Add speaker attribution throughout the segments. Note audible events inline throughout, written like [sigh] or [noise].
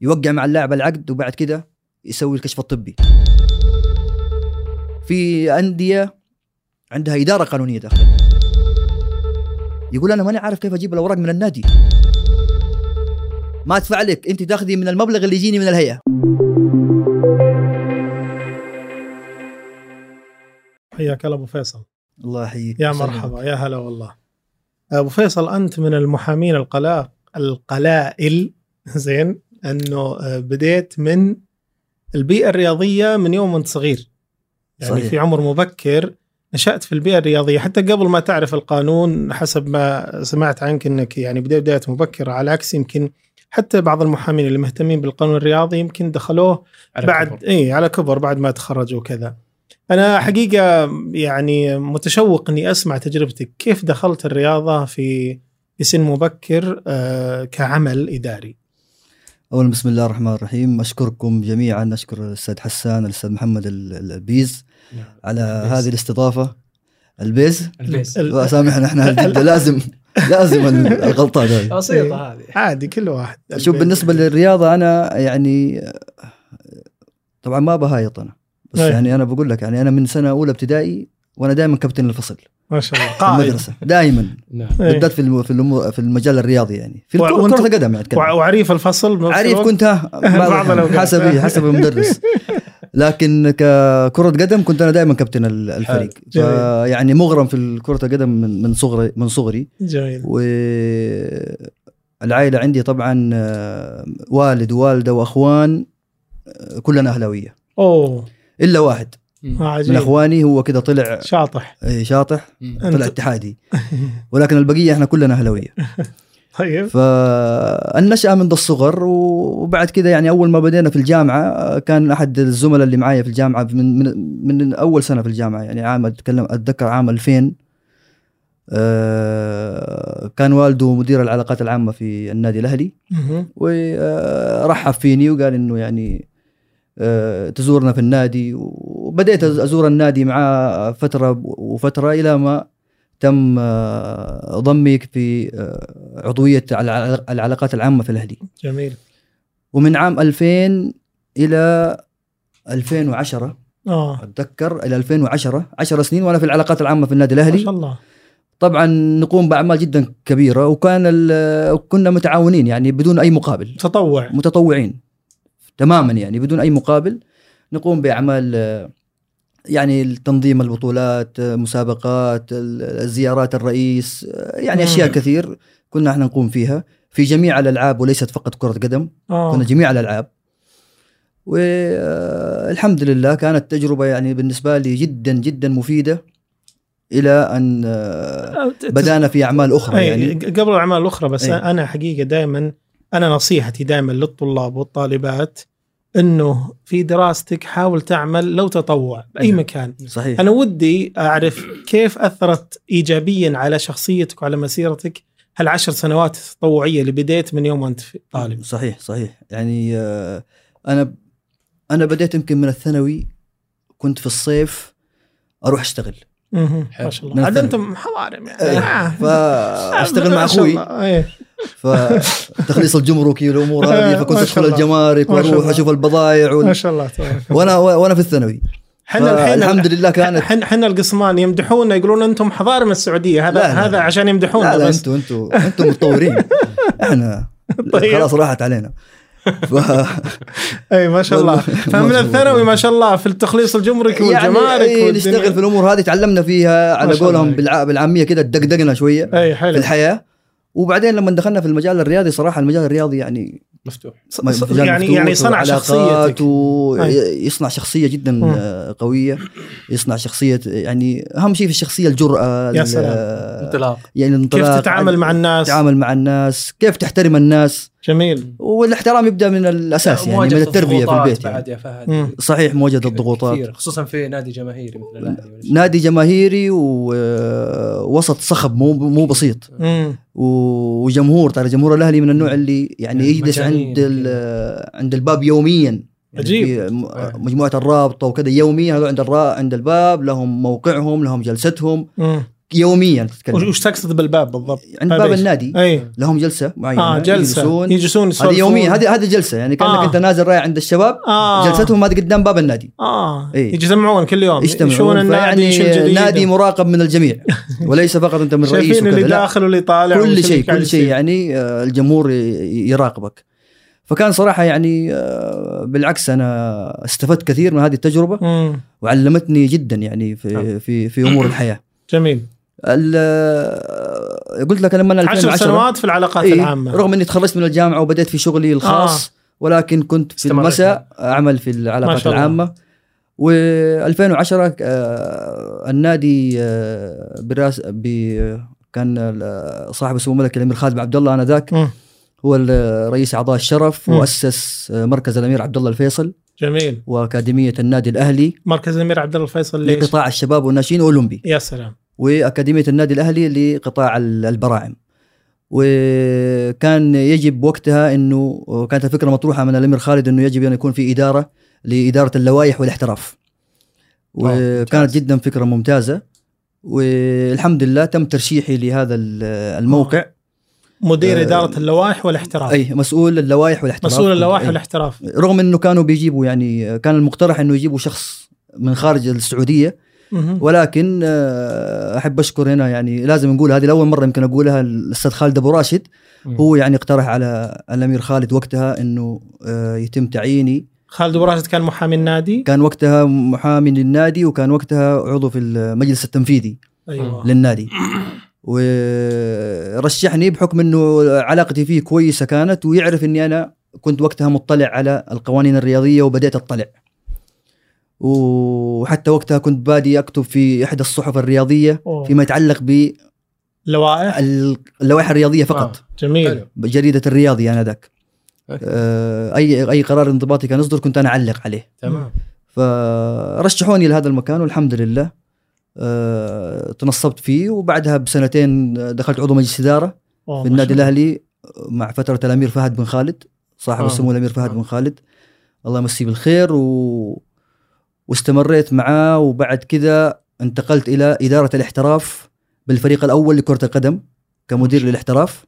Speaker 1: يوقع مع اللاعب العقد وبعد كده يسوي الكشف الطبي في انديه عندها اداره قانونيه داخلها يقول انا ماني عارف كيف اجيب الاوراق من النادي ما ادفع لك انت تاخذي من المبلغ اللي يجيني من الهيئه
Speaker 2: حياك الله ابو فيصل
Speaker 1: الله يحييك
Speaker 2: يا مرحبا يا هلا والله ابو فيصل انت من المحامين القلاء القلائل [laughs] زين انه آه، بديت من البيئه الرياضيه من يوم وانت صغير يعني
Speaker 1: صحيح.
Speaker 2: صحيح. في عمر مبكر نشات في البيئه الرياضيه حتى قبل ما تعرف القانون حسب ما سمعت عنك انك يعني بدايه بدايه مبكره على عكس يمكن حتى بعض المحامين اللي مهتمين بالقانون الرياضي يمكن دخلوه
Speaker 3: على
Speaker 2: بعد
Speaker 3: كبر. نعم.
Speaker 2: اي على كبر بعد ما تخرجوا وكذا انا حقيقه يعني متشوق اني اسمع تجربتك كيف دخلت الرياضه في في سن مبكر آه، كعمل اداري
Speaker 1: اول بسم الله الرحمن الرحيم اشكركم جميعا اشكر الاستاذ حسان الاستاذ محمد ال- ال- البيز
Speaker 3: نعم.
Speaker 1: على
Speaker 2: البيز.
Speaker 1: هذه الاستضافه البيز
Speaker 3: البيس
Speaker 2: ال-
Speaker 1: سامحنا [laughs] احنا جدا لازم لازم ال- الغلطات هذه إيه.
Speaker 3: بسيطه هذه
Speaker 2: عادي كل واحد
Speaker 1: شوف بالنسبه للرياضه انا يعني طبعا ما بهايط انا بس
Speaker 2: أي.
Speaker 1: يعني انا بقول لك يعني انا من سنه اولى ابتدائي وانا دائما كابتن الفصل في
Speaker 2: ما شاء الله قائد
Speaker 1: المدرسه دائما
Speaker 3: نعم
Speaker 2: طيب. [laughs] إيه.
Speaker 1: بالذات في الم- في الم- في المجال الرياضي يعني في
Speaker 2: وع-
Speaker 1: الكرة-
Speaker 2: وأنت-
Speaker 1: كره القدم يعني أتكلم.
Speaker 2: وع- وعريف الفصل بنفس
Speaker 1: عريف
Speaker 2: الوقت؟
Speaker 1: كنت ها
Speaker 2: [laughs] بعض
Speaker 1: ما-
Speaker 2: الأوقات.
Speaker 1: حسب إيه، حسب
Speaker 2: [laughs]
Speaker 1: المدرس لكن ككرة قدم كنت انا دائما كابتن ال- الفريق
Speaker 2: جميل.
Speaker 1: فيعني مغرم في كرة القدم من من صغري من صغري
Speaker 2: جميل
Speaker 1: والعائلة عندي طبعا آه، والد ووالدة واخوان آه، كلنا اهلاويه
Speaker 2: اوه
Speaker 1: الا واحد
Speaker 2: آه،
Speaker 1: من
Speaker 2: عجيب
Speaker 1: اخواني هو كده طلع [laughs]
Speaker 2: شاطح
Speaker 1: آه، شاطح طلع
Speaker 2: انت
Speaker 1: اتحادي ولكن البقيه احنا كلنا اهلاويه
Speaker 2: طيب
Speaker 1: فالنشأة من ذا الصغر وبعد كذا يعني أول ما بدينا في الجامعة آه، كان أحد الزملاء اللي معايا في الجامعة من من, من أول سنة في الجامعة يعني عام أتكلم أتذكر عام 2000 آه، كان والده مدير العلاقات العامة في النادي الأهلي
Speaker 2: مهم.
Speaker 1: ورحب فيني وقال إنه يعني آه، تزورنا في النادي وبدأت أزور النادي معاه فترة وفترة إلى ما تم آه، ضمي في آه، عضوية الع- العلاقات العامة في الأهلي
Speaker 2: جميل
Speaker 1: ومن عام 2000 إلى 2010
Speaker 2: اه
Speaker 1: أتذكر إلى 2010 10 سنين وأنا في العلاقات العامة في النادي
Speaker 2: ما شاء
Speaker 1: الأهلي
Speaker 2: الله
Speaker 1: طبعا نقوم بأعمال جدا كبيرة وكان ال- كنا متعاونين يعني بدون أي مقابل
Speaker 2: تطوع
Speaker 1: متطوعين تماما يعني بدون اي مقابل نقوم باعمال آه، يعني تنظيم البطولات آه، مسابقات ال- زيارات الرئيس آه، يعني
Speaker 2: مم.
Speaker 1: اشياء كثير كنا احنا نقوم فيها في جميع الالعاب وليست فقط كره قدم كنا
Speaker 2: اه
Speaker 1: جميع الالعاب والحمد لله كانت تجربه يعني بالنسبه لي جدا جدا مفيده الى ان آه،
Speaker 2: أه،
Speaker 1: بدانا في اعمال اخرى
Speaker 2: أي،
Speaker 1: يعني
Speaker 2: إيه،
Speaker 1: إيه.
Speaker 2: قبل الاعمال الاخرى بس
Speaker 1: أي.
Speaker 2: انا حقيقه دائما انا نصيحتي دائما للطلاب والطالبات انه في دراستك حاول تعمل لو تطوع باي
Speaker 1: نعم.
Speaker 2: مكان [laughs]
Speaker 1: صحيح
Speaker 2: انا ودي اعرف كيف اثرت ايجابيا على شخصيتك وعلى مسيرتك هالعشر سنوات التطوعيه اللي بديت من يوم وانت في- طالب
Speaker 1: صحيح صحيح يعني آه، انا انا بديت يمكن من الثانوي كنت في الصيف اروح اشتغل
Speaker 2: مهم. ما
Speaker 3: حلو.
Speaker 2: شاء
Speaker 1: من
Speaker 2: الله عاد انت
Speaker 1: الثانوي.
Speaker 2: محضارم يعني آه.
Speaker 1: فاشتغل إيه. مع
Speaker 2: [laughs] ما شاء
Speaker 1: اخوي
Speaker 2: الله. إيه.
Speaker 1: فتخليص الجمركي
Speaker 2: [laughs]
Speaker 1: والامور
Speaker 2: آه،
Speaker 1: هذه فكنت
Speaker 2: ما شاء
Speaker 1: ادخل
Speaker 2: الله.
Speaker 1: الجمارك
Speaker 2: ما شاء
Speaker 1: واروح
Speaker 2: الله.
Speaker 1: اشوف البضائع
Speaker 2: ما
Speaker 1: وال...
Speaker 2: شاء الله
Speaker 1: [laughs]
Speaker 2: تبارك الله.
Speaker 1: وانا وانا في الثانوي
Speaker 2: حنا الحين
Speaker 1: الحمد لله
Speaker 2: [laughs]
Speaker 1: كانت
Speaker 2: حنا حنا القسمان يمدحونا يقولون انتم حضارم السعوديه هذا
Speaker 1: لا، لا،
Speaker 2: هذا
Speaker 1: لا.
Speaker 2: عشان يمدحونا
Speaker 1: لا لا
Speaker 2: بس
Speaker 1: انتوا انتوا انتوا
Speaker 2: [laughs]
Speaker 1: متطورين احنا
Speaker 2: طيب.
Speaker 1: خلاص راحت علينا
Speaker 2: [laughs]
Speaker 1: ف...
Speaker 2: اي إيه، ما شاء الله
Speaker 1: والله. [laughs] ما
Speaker 2: فمن
Speaker 1: شاء الله.
Speaker 2: الثانوي ما شاء الله في التخليص الجمركي والجمارك
Speaker 1: يعني إيه،
Speaker 2: والدنيا.
Speaker 1: نشتغل في الامور هذه تعلمنا فيها
Speaker 2: ما
Speaker 1: على
Speaker 2: شاء الله
Speaker 1: قولهم
Speaker 2: عليك.
Speaker 1: بالع- بالعاميه كده دقدقنا شويه
Speaker 2: اي إيه، حلو
Speaker 1: في الحياه وبعدين لما دخلنا في المجال الرياضي صراحه المجال الرياضي يعني
Speaker 3: مفتوح
Speaker 2: ص-
Speaker 1: مجال
Speaker 2: ص-
Speaker 1: مفتوح
Speaker 2: يعني يعني صنع
Speaker 1: وعلاقات
Speaker 2: شخصيتك آه.
Speaker 1: ويصنع شخصيه جدا
Speaker 2: مم.
Speaker 1: آه، قويه يصنع شخصيه يعني اهم شيء في الشخصيه الجراه
Speaker 2: يا
Speaker 1: ال-
Speaker 2: سلام.
Speaker 1: آه،
Speaker 3: انطلاق
Speaker 1: يعني
Speaker 2: كيف
Speaker 1: الانطلاق يعني
Speaker 2: تتعامل مع الناس
Speaker 1: تتعامل مع الناس كيف تحترم الناس
Speaker 2: جميل
Speaker 1: والاحترام يبدا من الاساس يعني
Speaker 3: مواجهة
Speaker 1: من التربيه في
Speaker 3: الضغوطات
Speaker 1: البيت يعني.
Speaker 3: بعد يا فهد
Speaker 2: مم.
Speaker 1: صحيح مواجهه الضغوطات
Speaker 3: كثير خصوصا في نادي جماهيري مثل الأهلي.
Speaker 1: نادي جماهيري ووسط صخب مو مو بسيط
Speaker 2: مم.
Speaker 1: و- وجمهور ترى جمهور الاهلي من النوع اللي يعني
Speaker 3: يعني
Speaker 1: يجلس
Speaker 3: مجانين
Speaker 1: عند ال- عند الباب يوميا يعني
Speaker 2: عجيب.
Speaker 1: في م- مجموعه الرابطه وكذا يوميا هذول عند الرا- عند الباب لهم موقعهم لهم جلستهم
Speaker 2: مم.
Speaker 1: يوميا
Speaker 2: وش
Speaker 1: تتكلم
Speaker 2: وش تقصد بالباب بالضبط؟
Speaker 1: عند
Speaker 2: باب
Speaker 1: باب
Speaker 2: إيش؟
Speaker 1: النادي
Speaker 2: اي
Speaker 1: لهم جلسه معينه
Speaker 2: اه جلسه
Speaker 1: يجلسون
Speaker 2: يجلسون
Speaker 1: هذه
Speaker 2: يسولفون
Speaker 1: يوميا هذه هذه جلسه يعني كانك
Speaker 2: آه.
Speaker 1: انت نازل رايح عند الشباب
Speaker 2: آه.
Speaker 1: جلستهم هذه قدام باب النادي
Speaker 2: اه
Speaker 1: إيه.
Speaker 2: يجتمعون كل يوم يشون
Speaker 1: يجتمعون
Speaker 2: النادي شو
Speaker 1: يعني
Speaker 2: الجديد
Speaker 1: نادي مراقب من الجميع وليس فقط انت من رئيس
Speaker 2: شايفين
Speaker 1: وكذا
Speaker 2: اللي
Speaker 1: لا
Speaker 2: داخل واللي طالع
Speaker 1: كل
Speaker 2: وش اللي
Speaker 1: شيء
Speaker 2: قاعد
Speaker 1: كل شيء
Speaker 2: يصير.
Speaker 1: يعني آه، الجمهور ي- ي- يراقبك فكان صراحه يعني آه، بالعكس انا استفدت كثير من هذه التجربه
Speaker 2: مم.
Speaker 1: وعلمتني جدا يعني في في في امور الحياه
Speaker 2: جميل
Speaker 1: ال- آه، قلت لك لما انا
Speaker 2: 10
Speaker 1: 2010
Speaker 2: سنوات في العلاقات
Speaker 1: إيه،
Speaker 2: العامه
Speaker 1: رغم اني تخرجت من الجامعه وبدأت في شغلي الخاص آه. ولكن كنت في
Speaker 3: استمرت.
Speaker 1: المساء اعمل في
Speaker 2: ما
Speaker 1: العلاقات
Speaker 2: شاء الله.
Speaker 1: العامه و2010 آه النادي آه براس ب- كان ال- صاحب السمو الملك الامير خالد بن عبد الله انذاك
Speaker 2: مم.
Speaker 1: هو ال- رئيس اعضاء الشرف
Speaker 2: مم.
Speaker 1: واسس آه، مركز الامير عبد الله الفيصل
Speaker 2: جميل
Speaker 1: واكاديميه النادي الاهلي
Speaker 2: مركز الامير عبد الله الفيصل ليش؟
Speaker 1: لقطاع الشباب والناشئين الاولمبي
Speaker 2: يا سلام
Speaker 1: واكاديميه النادي الاهلي لقطاع ال- البراعم وكان يجب وقتها انه كانت الفكره مطروحه من الامير خالد انه يجب ان يكون في اداره لاداره اللوائح والاحتراف وكانت جدا فكره ممتازه والحمد لله تم ترشيحي لهذا ال- الموقع
Speaker 2: مدير
Speaker 1: آه،
Speaker 2: اداره اللوائح والاحتراف
Speaker 1: اي مسؤول اللوائح والاحتراف
Speaker 2: آه. مسؤول اللوائح
Speaker 1: أي.
Speaker 2: والاحتراف
Speaker 1: رغم انه كانوا بيجيبوا يعني كان المقترح انه يجيبوا شخص من خارج السعوديه
Speaker 2: مهم.
Speaker 1: ولكن آه، احب اشكر هنا يعني لازم نقول هذه لاول مره يمكن اقولها الاستاذ خالد ابو راشد
Speaker 3: مم.
Speaker 1: هو يعني اقترح على الامير خالد وقتها انه آه، يتم تعييني
Speaker 2: خالد ابو راشد كان محامي النادي
Speaker 1: كان وقتها محامي للنادي وكان وقتها عضو في المجلس التنفيذي
Speaker 2: ايوه
Speaker 1: للنادي ورشحني بحكم انه علاقتي فيه كويسه كانت ويعرف اني انا كنت وقتها مطلع على القوانين الرياضيه وبدات اطلع وحتى وقتها كنت بادي اكتب في احدى الصحف الرياضيه
Speaker 2: أوه.
Speaker 1: فيما يتعلق
Speaker 2: لوائح
Speaker 1: باللوائح الرياضيه فقط
Speaker 2: جميل
Speaker 3: حلو.
Speaker 1: جريده الرياضي انا ذاك
Speaker 3: أوكي.
Speaker 1: آه، اي اي قرار انضباطي كان يصدر كنت انا اعلق عليه
Speaker 3: تمام
Speaker 1: فرشحوني لهذا المكان والحمد لله آه، تنصبت فيه وبعدها بسنتين دخلت عضو مجلس اداره
Speaker 2: أوه،
Speaker 1: في
Speaker 2: ما
Speaker 1: النادي
Speaker 2: شاء الله.
Speaker 1: الاهلي مع فتره الامير فهد بن خالد صاحب
Speaker 3: آه.
Speaker 1: السمو الامير فهد
Speaker 3: آه.
Speaker 1: بن خالد الله يمسيه بالخير و... واستمريت معاه وبعد كذا انتقلت الى اداره الاحتراف بالفريق الاول لكره القدم كمدير للاحتراف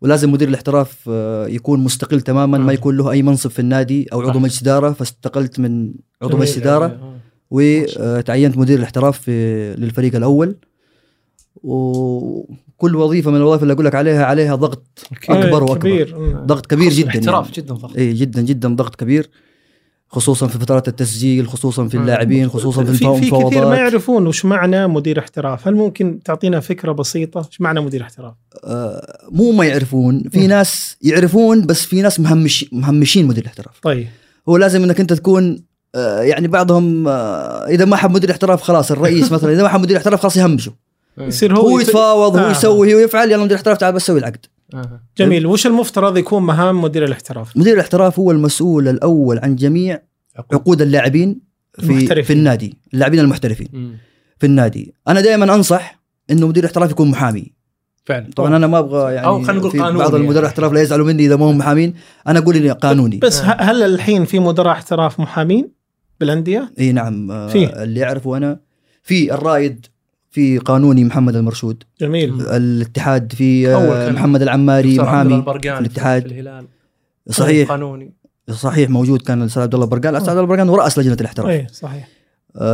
Speaker 1: ولازم مدير الاحتراف آه، يكون مستقل تماما ما
Speaker 3: آه.
Speaker 1: يكون له اي منصب في النادي او عضو
Speaker 3: صح.
Speaker 1: مجلس اداره فاستقلت من عضو
Speaker 2: جميل.
Speaker 1: مجلس اداره
Speaker 2: آه.
Speaker 1: وتعينت مدير الاحتراف في للفريق الاول وكل وظيفه من الوظائف اللي اقول لك عليها عليها ضغط
Speaker 2: إيه،
Speaker 1: أكبر وأكبر.
Speaker 2: كبير مم.
Speaker 1: ضغط كبير جدا
Speaker 3: احتراف
Speaker 1: يعني.
Speaker 3: جدا ضخم
Speaker 1: اي جدا جدا ضغط كبير خصوصا في فترات التسجيل خصوصا في
Speaker 3: مم.
Speaker 1: اللاعبين خصوصا في
Speaker 2: آه، في, في كثير ما
Speaker 1: المفاوضات
Speaker 2: يعرفون وش معنى مدير احتراف هل ممكن تعطينا فكره بسيطه وش معنى مدير احتراف
Speaker 1: آه، مو ما يعرفون في
Speaker 2: مم.
Speaker 1: ناس يعرفون بس في ناس مهمش مهمشين مدير الاحتراف
Speaker 2: طيب
Speaker 1: هو لازم انك انت تكون آه، يعني بعضهم آه، اذا ما حب مدير احتراف خلاص
Speaker 2: [laughs]
Speaker 1: الرئيس مثلا اذا ما حب مدير احتراف خلاص يهمشه
Speaker 3: إيه.
Speaker 2: يصير هو,
Speaker 1: هو
Speaker 2: يت-
Speaker 1: يتفاوض هو
Speaker 2: آه.
Speaker 1: يسوي هو يفعل يلا مدير الاحتراف تعال بس سوي العقد
Speaker 2: جميل وش المفترض يكون مهام مدير الاحتراف
Speaker 1: مدير الاحتراف هو المسؤول الاول عن جميع عقود اللاعبين في
Speaker 2: المحترفين.
Speaker 1: في النادي اللاعبين المحترفين في النادي انا دائما انصح انه مدير الاحتراف يكون محامي
Speaker 3: فعلا
Speaker 1: طبعا انا ما ابغى يعني
Speaker 3: أو خلينا نقول
Speaker 1: في
Speaker 3: قانوني
Speaker 1: بعض
Speaker 3: يعني.
Speaker 1: المدراء الاحتراف لا يزعلوا مني اذا ما هم محامين انا اقول اني قانوني
Speaker 2: بس ه- هل الحين في مدراء احتراف محامين بالانديه
Speaker 1: اي نعم آه،
Speaker 2: فيه.
Speaker 1: اللي اعرفه انا في الرائد في قانوني محمد المرشود
Speaker 2: جميل
Speaker 1: الاتحاد في
Speaker 3: أول
Speaker 1: آه،
Speaker 3: كان
Speaker 1: محمد العماري محامي
Speaker 3: في
Speaker 1: الاتحاد.
Speaker 3: في الهلال
Speaker 1: صحيح
Speaker 3: قانوني
Speaker 1: صحيح موجود كان الاستاذ عبد الله برقال الاستاذ عبد الله برقال هو راس لجنه الاحتراف
Speaker 2: اي إيه، صحيح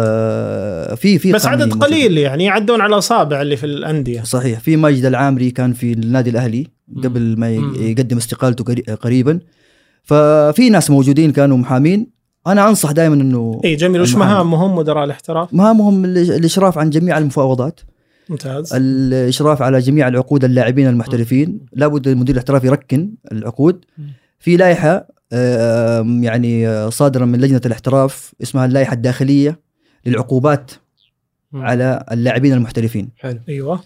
Speaker 1: آه، في في
Speaker 2: بس
Speaker 1: قانوني
Speaker 2: عدد
Speaker 1: موجود.
Speaker 2: قليل يعني يعدون على الاصابع اللي في الانديه
Speaker 1: صحيح في ماجد العامري كان في النادي الاهلي
Speaker 3: مم.
Speaker 1: قبل ما ي-
Speaker 3: مم.
Speaker 1: يقدم استقالته قري- قريبا ففي ناس موجودين كانوا محامين انا انصح دائما انه
Speaker 2: اي إيه، جميل وش
Speaker 1: المحامي.
Speaker 2: مهامهم مدراء الاحتراف
Speaker 1: مهامهم ال- الاشراف عن جميع المفاوضات
Speaker 2: ممتاز
Speaker 1: الاشراف على جميع العقود اللاعبين المحترفين لابد المدير الاحترافي يركن العقود
Speaker 3: مم.
Speaker 1: في لائحه آه، يعني آه، صادره من لجنه الاحتراف اسمها اللائحه الداخليه للعقوبات
Speaker 3: مم.
Speaker 1: على اللاعبين المحترفين
Speaker 3: حلو
Speaker 2: ايوه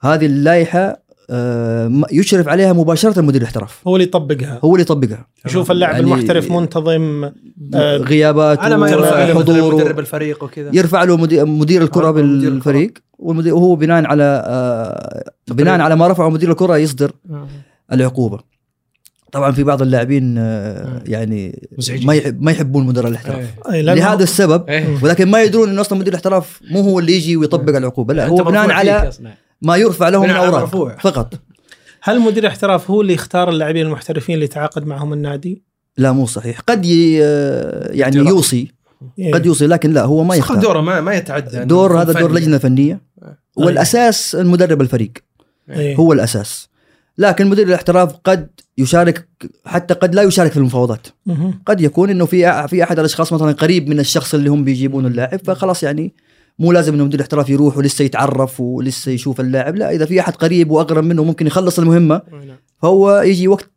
Speaker 1: هذه اللائحه آه، ما- يشرف عليها مباشره مدير الاحتراف
Speaker 2: هو اللي يطبقها
Speaker 1: هو اللي يطبقها
Speaker 2: يشوف اللاعب
Speaker 1: يعني-
Speaker 2: المحترف منتظم آه،
Speaker 1: غيابات
Speaker 3: على ما يرفع
Speaker 2: يرفع
Speaker 1: وحضور
Speaker 3: مدرب
Speaker 1: و-
Speaker 3: الفريق وكذا
Speaker 1: يرفع له مدير, مدير الكره
Speaker 3: مدير الكرة.
Speaker 1: بالفريق والمدير- وهو بناء على آه، بناء على ما رفعه مدير الكره يصدر العقوبه طبعا في بعض اللاعبين آه،
Speaker 3: مم.
Speaker 1: يعني
Speaker 3: مزعجين.
Speaker 1: ما يحب ما يحبون مدراء الاحتراف
Speaker 3: إيه.
Speaker 2: لأنه-
Speaker 1: لهذا السبب
Speaker 3: إيه.
Speaker 1: ولكن ما يدرون انه اصلا مدير الاحتراف مو هو اللي يجي
Speaker 3: آه.
Speaker 1: ويطبق العقوبه لا
Speaker 3: أنت
Speaker 1: هو
Speaker 3: مرفوع
Speaker 1: بناء
Speaker 3: فيك
Speaker 1: على
Speaker 3: أصلاً.
Speaker 1: ما يرفع لهم من
Speaker 3: بناء على
Speaker 1: اوراق
Speaker 3: مرفوع.
Speaker 1: فقط
Speaker 2: هل مدير الاحتراف هو اللي يختار اللاعبين المحترفين اللي يتعاقد معهم النادي؟
Speaker 1: لا مو صحيح قد ي... آه، يعني
Speaker 3: اختيارات.
Speaker 1: يوصي
Speaker 2: إيه.
Speaker 1: قد يوصي لكن لا هو ما
Speaker 3: بس خذ
Speaker 1: يختار
Speaker 3: دوره ما ما يتعدى إنه
Speaker 1: دور
Speaker 3: يكون
Speaker 1: هذا دور
Speaker 3: فني. إيه.
Speaker 1: لجنه فنيه والاساس المدرب الفريق
Speaker 2: إيه.
Speaker 1: هو الاساس لكن مدير الاحتراف قد يشارك حتى قد لا يشارك في المفاوضات
Speaker 2: مهم.
Speaker 1: قد يكون انه في في احد الاشخاص مثلا قريب من الشخص اللي هم بيجيبون اللاعب فخلاص يعني مو لازم انه مدير الاحتراف يروح ولسه يتعرف ولسه يشوف اللاعب لا اذا في احد قريب واقرب منه ممكن يخلص المهمه فهو يجي وقت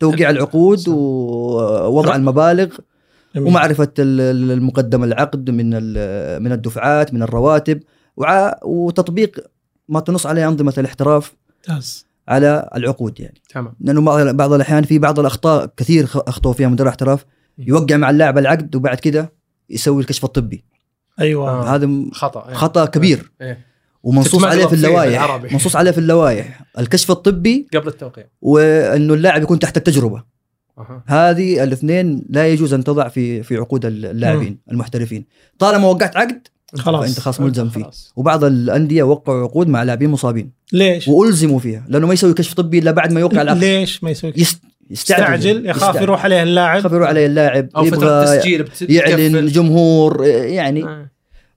Speaker 1: توقيع العقود
Speaker 3: صح.
Speaker 1: ووضع المبالغ
Speaker 2: جميل.
Speaker 1: ومعرفه ال- ال- المقدم العقد من ال- من الدفعات من الرواتب وع- وتطبيق ما تنص عليه انظمه الاحتراف
Speaker 2: ممتاز
Speaker 1: على العقود يعني
Speaker 3: تمام
Speaker 1: لانه بعض بعض الاحيان في بعض الاخطاء كثير خ- اخطاوا فيها مدراء الاحتراف يوقع مع اللاعب العقد وبعد كده يسوي الكشف الطبي
Speaker 2: ايوه
Speaker 3: آه.
Speaker 1: هذا م-
Speaker 3: خطا إيه.
Speaker 1: خطا كبير
Speaker 3: إيه.
Speaker 1: ومنصوص
Speaker 3: تتمغلط
Speaker 1: عليه في
Speaker 3: فيه
Speaker 1: اللوائح
Speaker 3: بالعربي.
Speaker 1: منصوص عليه في اللوائح الكشف الطبي
Speaker 3: قبل التوقيع
Speaker 1: وانه اللاعب يكون تحت التجربه
Speaker 3: أها.
Speaker 1: هذه الاثنين لا يجوز ان تضع في في عقود اللاعبين المحترفين طالما وقعت عقد
Speaker 2: خلاص.
Speaker 1: فانت آه، خلاص ملزم
Speaker 3: أنت
Speaker 1: فيه
Speaker 3: خلاص.
Speaker 1: وبعض الانديه وقعوا عقود مع لاعبين مصابين
Speaker 2: ليش؟
Speaker 1: والزموا فيها لانه ما يسوي كشف طبي الا بعد ما يوقع العقد
Speaker 2: ليش ما يسوي كذا؟
Speaker 1: يست-
Speaker 2: يستعجل يخاف
Speaker 1: يستعجل.
Speaker 2: يروح عليه اللاعب
Speaker 1: يخاف يروح عليه اللاعب
Speaker 3: او فتره
Speaker 1: يبغى
Speaker 3: تسجيل بت-
Speaker 1: يعلن
Speaker 3: بتكفل.
Speaker 1: الجمهور يعني
Speaker 3: آه.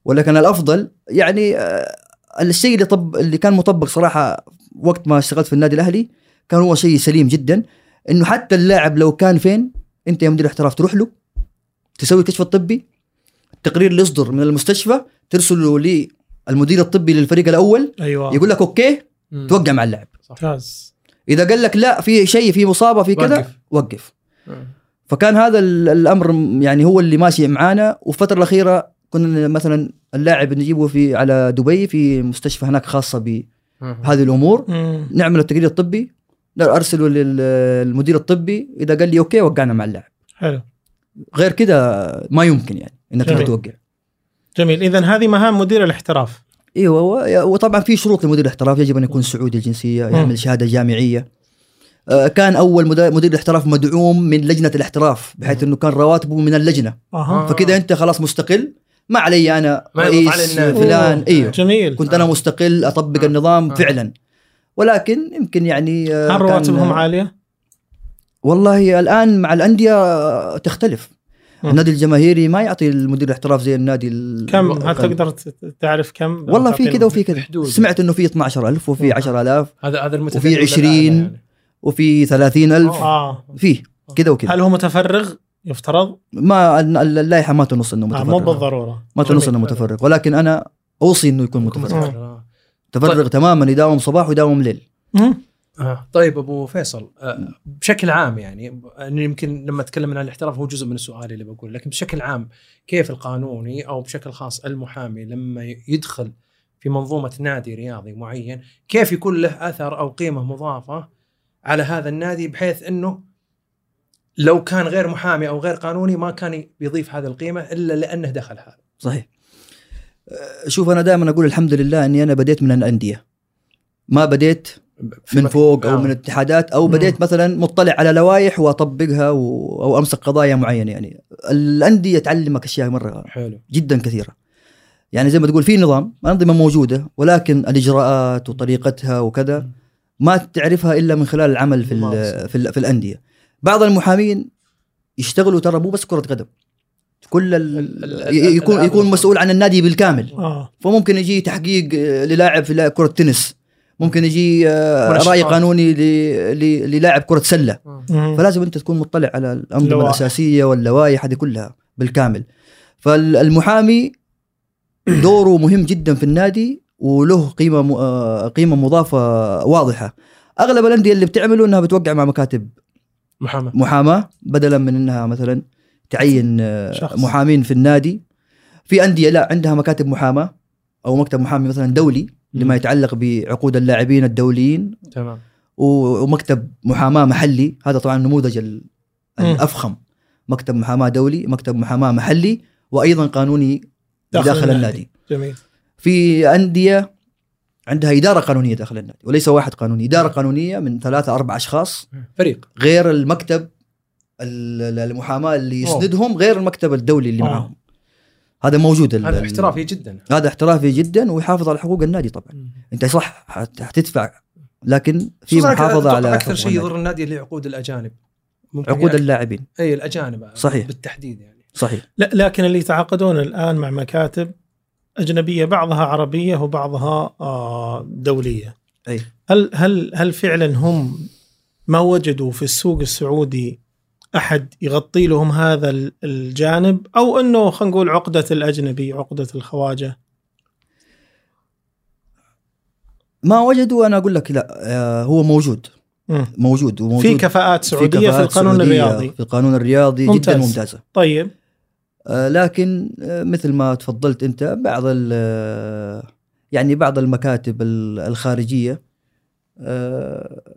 Speaker 1: ولكن الافضل يعني آه، الشيء اللي طب اللي كان مطبق صراحه وقت ما اشتغلت في النادي الاهلي كان هو شيء سليم جدا انه حتى اللاعب لو كان فين انت يا مدير الاحتراف تروح له تسوي الكشف الطبي التقرير اللي يصدر من المستشفى ترسله للمدير الطبي للفريق الاول
Speaker 2: ايوه
Speaker 1: يقول لك اوكي
Speaker 3: مم.
Speaker 1: توقع مع اللاعب
Speaker 2: ممتاز
Speaker 1: اذا قال لك لا في شيء في مصابه في كذا
Speaker 3: وقف.
Speaker 1: وقف
Speaker 3: آه.
Speaker 1: فكان هذا ال- الامر م- يعني هو اللي ماشي معانا والفتره الاخيره كنا مثلا اللاعب نجيبه في على دبي في مستشفى هناك خاصه بهذه
Speaker 3: آه.
Speaker 1: الامور
Speaker 2: مم.
Speaker 1: نعمل التقرير الطبي لا، ارسله لل- للمدير الطبي اذا قال لي اوكي وقعنا مع اللاعب
Speaker 2: حلو
Speaker 1: غير كده ما يمكن يعني انك تروح
Speaker 2: جميل.
Speaker 1: توقع
Speaker 2: جميل اذا هذه مهام مدير الاحتراف
Speaker 1: ايوه و- وطبعا في شروط لمدير الاحتراف يجب ان يكون سعودي الجنسيه يعمل شهاده جامعيه آه، كان اول مدا- مدير الاحتراف مدعوم من لجنه الاحتراف بحيث انه كان رواتبه من اللجنه
Speaker 2: اها
Speaker 3: آه.
Speaker 1: فكده انت خلاص مستقل ما علي انا
Speaker 3: ما يضغط على
Speaker 1: رئيس
Speaker 3: النادي.
Speaker 1: فلان
Speaker 2: أوه.
Speaker 1: ايوه
Speaker 2: جميل
Speaker 1: كنت انا مستقل اطبق
Speaker 3: آه.
Speaker 1: النظام
Speaker 3: آه.
Speaker 1: فعلا ولكن يمكن يعني آه،
Speaker 2: هل
Speaker 1: كان-
Speaker 2: رواتبهم عاليه؟
Speaker 1: والله الان مع الانديه آه، تختلف
Speaker 2: مم.
Speaker 1: النادي الجماهيري ما يعطي المدير الاحتراف زي النادي ال-
Speaker 2: آه. كم؟
Speaker 1: الوطني.
Speaker 2: هل تقدر ت- تعرف كم؟
Speaker 1: والله في كذا وفي كذا
Speaker 3: بحدود.
Speaker 1: سمعت انه في 12000 وفي
Speaker 2: آه.
Speaker 3: مم.
Speaker 1: 10000
Speaker 3: هذا هذا المتفق
Speaker 1: وفي 20
Speaker 3: يعني.
Speaker 1: وفي 30000
Speaker 3: أوه.
Speaker 2: اه
Speaker 1: فيه
Speaker 3: آه.
Speaker 1: كذا وكذا
Speaker 2: هل هو متفرغ يفترض؟
Speaker 1: ما ال- ال- اللائحه ما تنص انه
Speaker 2: آه مو
Speaker 1: متفرغ
Speaker 2: بالضروره
Speaker 1: ما تنص انه
Speaker 3: جميل.
Speaker 1: متفرغ ولكن انا اوصي انه يكون متفرغ
Speaker 2: متفرغ.
Speaker 3: آه. طيب.
Speaker 1: متفرغ تماما يداوم صباح ويداوم ليل
Speaker 2: مم.
Speaker 3: آه. طيب ابو فيصل آه. بشكل عام يعني أنا يمكن لما تكلمنا عن الاحتراف هو جزء من السؤال اللي بقوله لكن بشكل عام كيف القانوني او بشكل خاص المحامي لما يدخل في منظومه نادي رياضي معين كيف يكون له اثر او قيمه مضافه على هذا النادي بحيث انه لو كان غير محامي او غير قانوني ما كان بيضيف هذه القيمه الا لانه دخل هذا
Speaker 1: صحيح أه، شوف انا دائما اقول الحمد لله اني انا بديت من الانديه ما بديت
Speaker 3: في
Speaker 1: من
Speaker 3: مك-
Speaker 1: فوق او
Speaker 3: آه.
Speaker 1: من الاتحادات او
Speaker 2: مم.
Speaker 1: بديت مثلا مطلع على لوائح واطبقها و... او امسك قضايا معينه يعني الانديه تعلمك اشياء مره
Speaker 3: حلو
Speaker 1: جدا كثيره يعني زي ما تقول في نظام انظمه موجوده ولكن الاجراءات وطريقتها وكذا ما تعرفها الا من خلال العمل في ال
Speaker 3: ممارسة.
Speaker 1: في, ال في الانديه بعض المحامين يشتغلوا ترى مو بس كره قدم كل
Speaker 3: ال- ال-
Speaker 1: ال...
Speaker 3: ال-
Speaker 1: ي- يكون
Speaker 3: الألعاب
Speaker 1: يكون
Speaker 3: الأخرى.
Speaker 1: مسؤول عن النادي بالكامل
Speaker 2: اه
Speaker 1: فممكن يجي تحقيق آه، للاعب في لا- كره تنس ممكن يجي آه،
Speaker 3: منشطات.
Speaker 1: راي قانوني ل- ل- للاعب كره سله
Speaker 2: مم.
Speaker 1: فلازم انت تكون مطلع على الانظمه
Speaker 2: اللوائح.
Speaker 1: الاساسيه واللوائح هذه كلها بالكامل فالمحامي دوره مهم جدا في النادي وله قيمه م- آه، قيمه مضافه واضحه اغلب الانديه اللي بتعمله انها بتوقع مع مكاتب
Speaker 3: محامي
Speaker 1: محاماه بدلا من انها مثلا تعين آه،
Speaker 2: شخص.
Speaker 1: محامين في النادي في انديه لا عندها مكاتب محاماه او مكتب محامي مثلا دولي لما يتعلق بعقود اللاعبين الدوليين
Speaker 3: تمام
Speaker 1: و- ومكتب محاماه محلي هذا طبعا النموذج ال-
Speaker 2: مم.
Speaker 1: الافخم مكتب محاماه دولي مكتب محاماه محلي وايضا قانوني
Speaker 2: داخل
Speaker 1: داخل,
Speaker 2: النادي.
Speaker 1: النادي.
Speaker 2: جميل
Speaker 1: في انديه عندها اداره قانونيه داخل النادي وليس واحد قانوني اداره قانونيه من ثلاثه اربع اشخاص
Speaker 3: فريق
Speaker 1: غير المكتب ال- ال- المحاماه اللي
Speaker 3: أوه.
Speaker 1: يسندهم غير المكتب الدولي اللي
Speaker 3: أوه.
Speaker 1: معاهم هذا موجود ال-
Speaker 3: هذا
Speaker 1: ال-
Speaker 3: احترافي جدا
Speaker 1: هذا احترافي جدا ويحافظ على حقوق النادي طبعا انت صح حت- حتدفع لكن في
Speaker 3: خصوصاً
Speaker 1: محافظه
Speaker 3: أتوقع
Speaker 1: على
Speaker 3: اكثر
Speaker 1: حقوق
Speaker 3: شيء
Speaker 1: النادي.
Speaker 3: يضر النادي اللي عقود الاجانب ممكن
Speaker 1: عقود
Speaker 3: يعني-
Speaker 1: اللاعبين
Speaker 3: اي الاجانب
Speaker 1: صحيح.
Speaker 3: بالتحديد يعني
Speaker 1: صحيح
Speaker 2: لا لكن اللي يتعاقدون الان مع مكاتب اجنبيه بعضها عربيه وبعضها آه، دوليه
Speaker 1: أي.
Speaker 2: هل هل هل فعلا هم ما وجدوا في السوق السعودي احد يغطي لهم هذا ال- الجانب او انه خلينا نقول عقده الاجنبي عقده الخواجه
Speaker 1: ما وجدوا انا اقول لك لا آه، هو موجود
Speaker 2: مم.
Speaker 1: موجود وموجود
Speaker 2: في كفاءات سعوديه في,
Speaker 1: كفاءات
Speaker 2: القانون
Speaker 1: سعودية
Speaker 2: الرياضي
Speaker 1: في القانون الرياضي
Speaker 2: ممتاز.
Speaker 1: جدا ممتازه
Speaker 2: طيب
Speaker 1: آه، لكن آه، مثل ما تفضلت انت بعض ال- يعني بعض المكاتب ال- الخارجيه آه،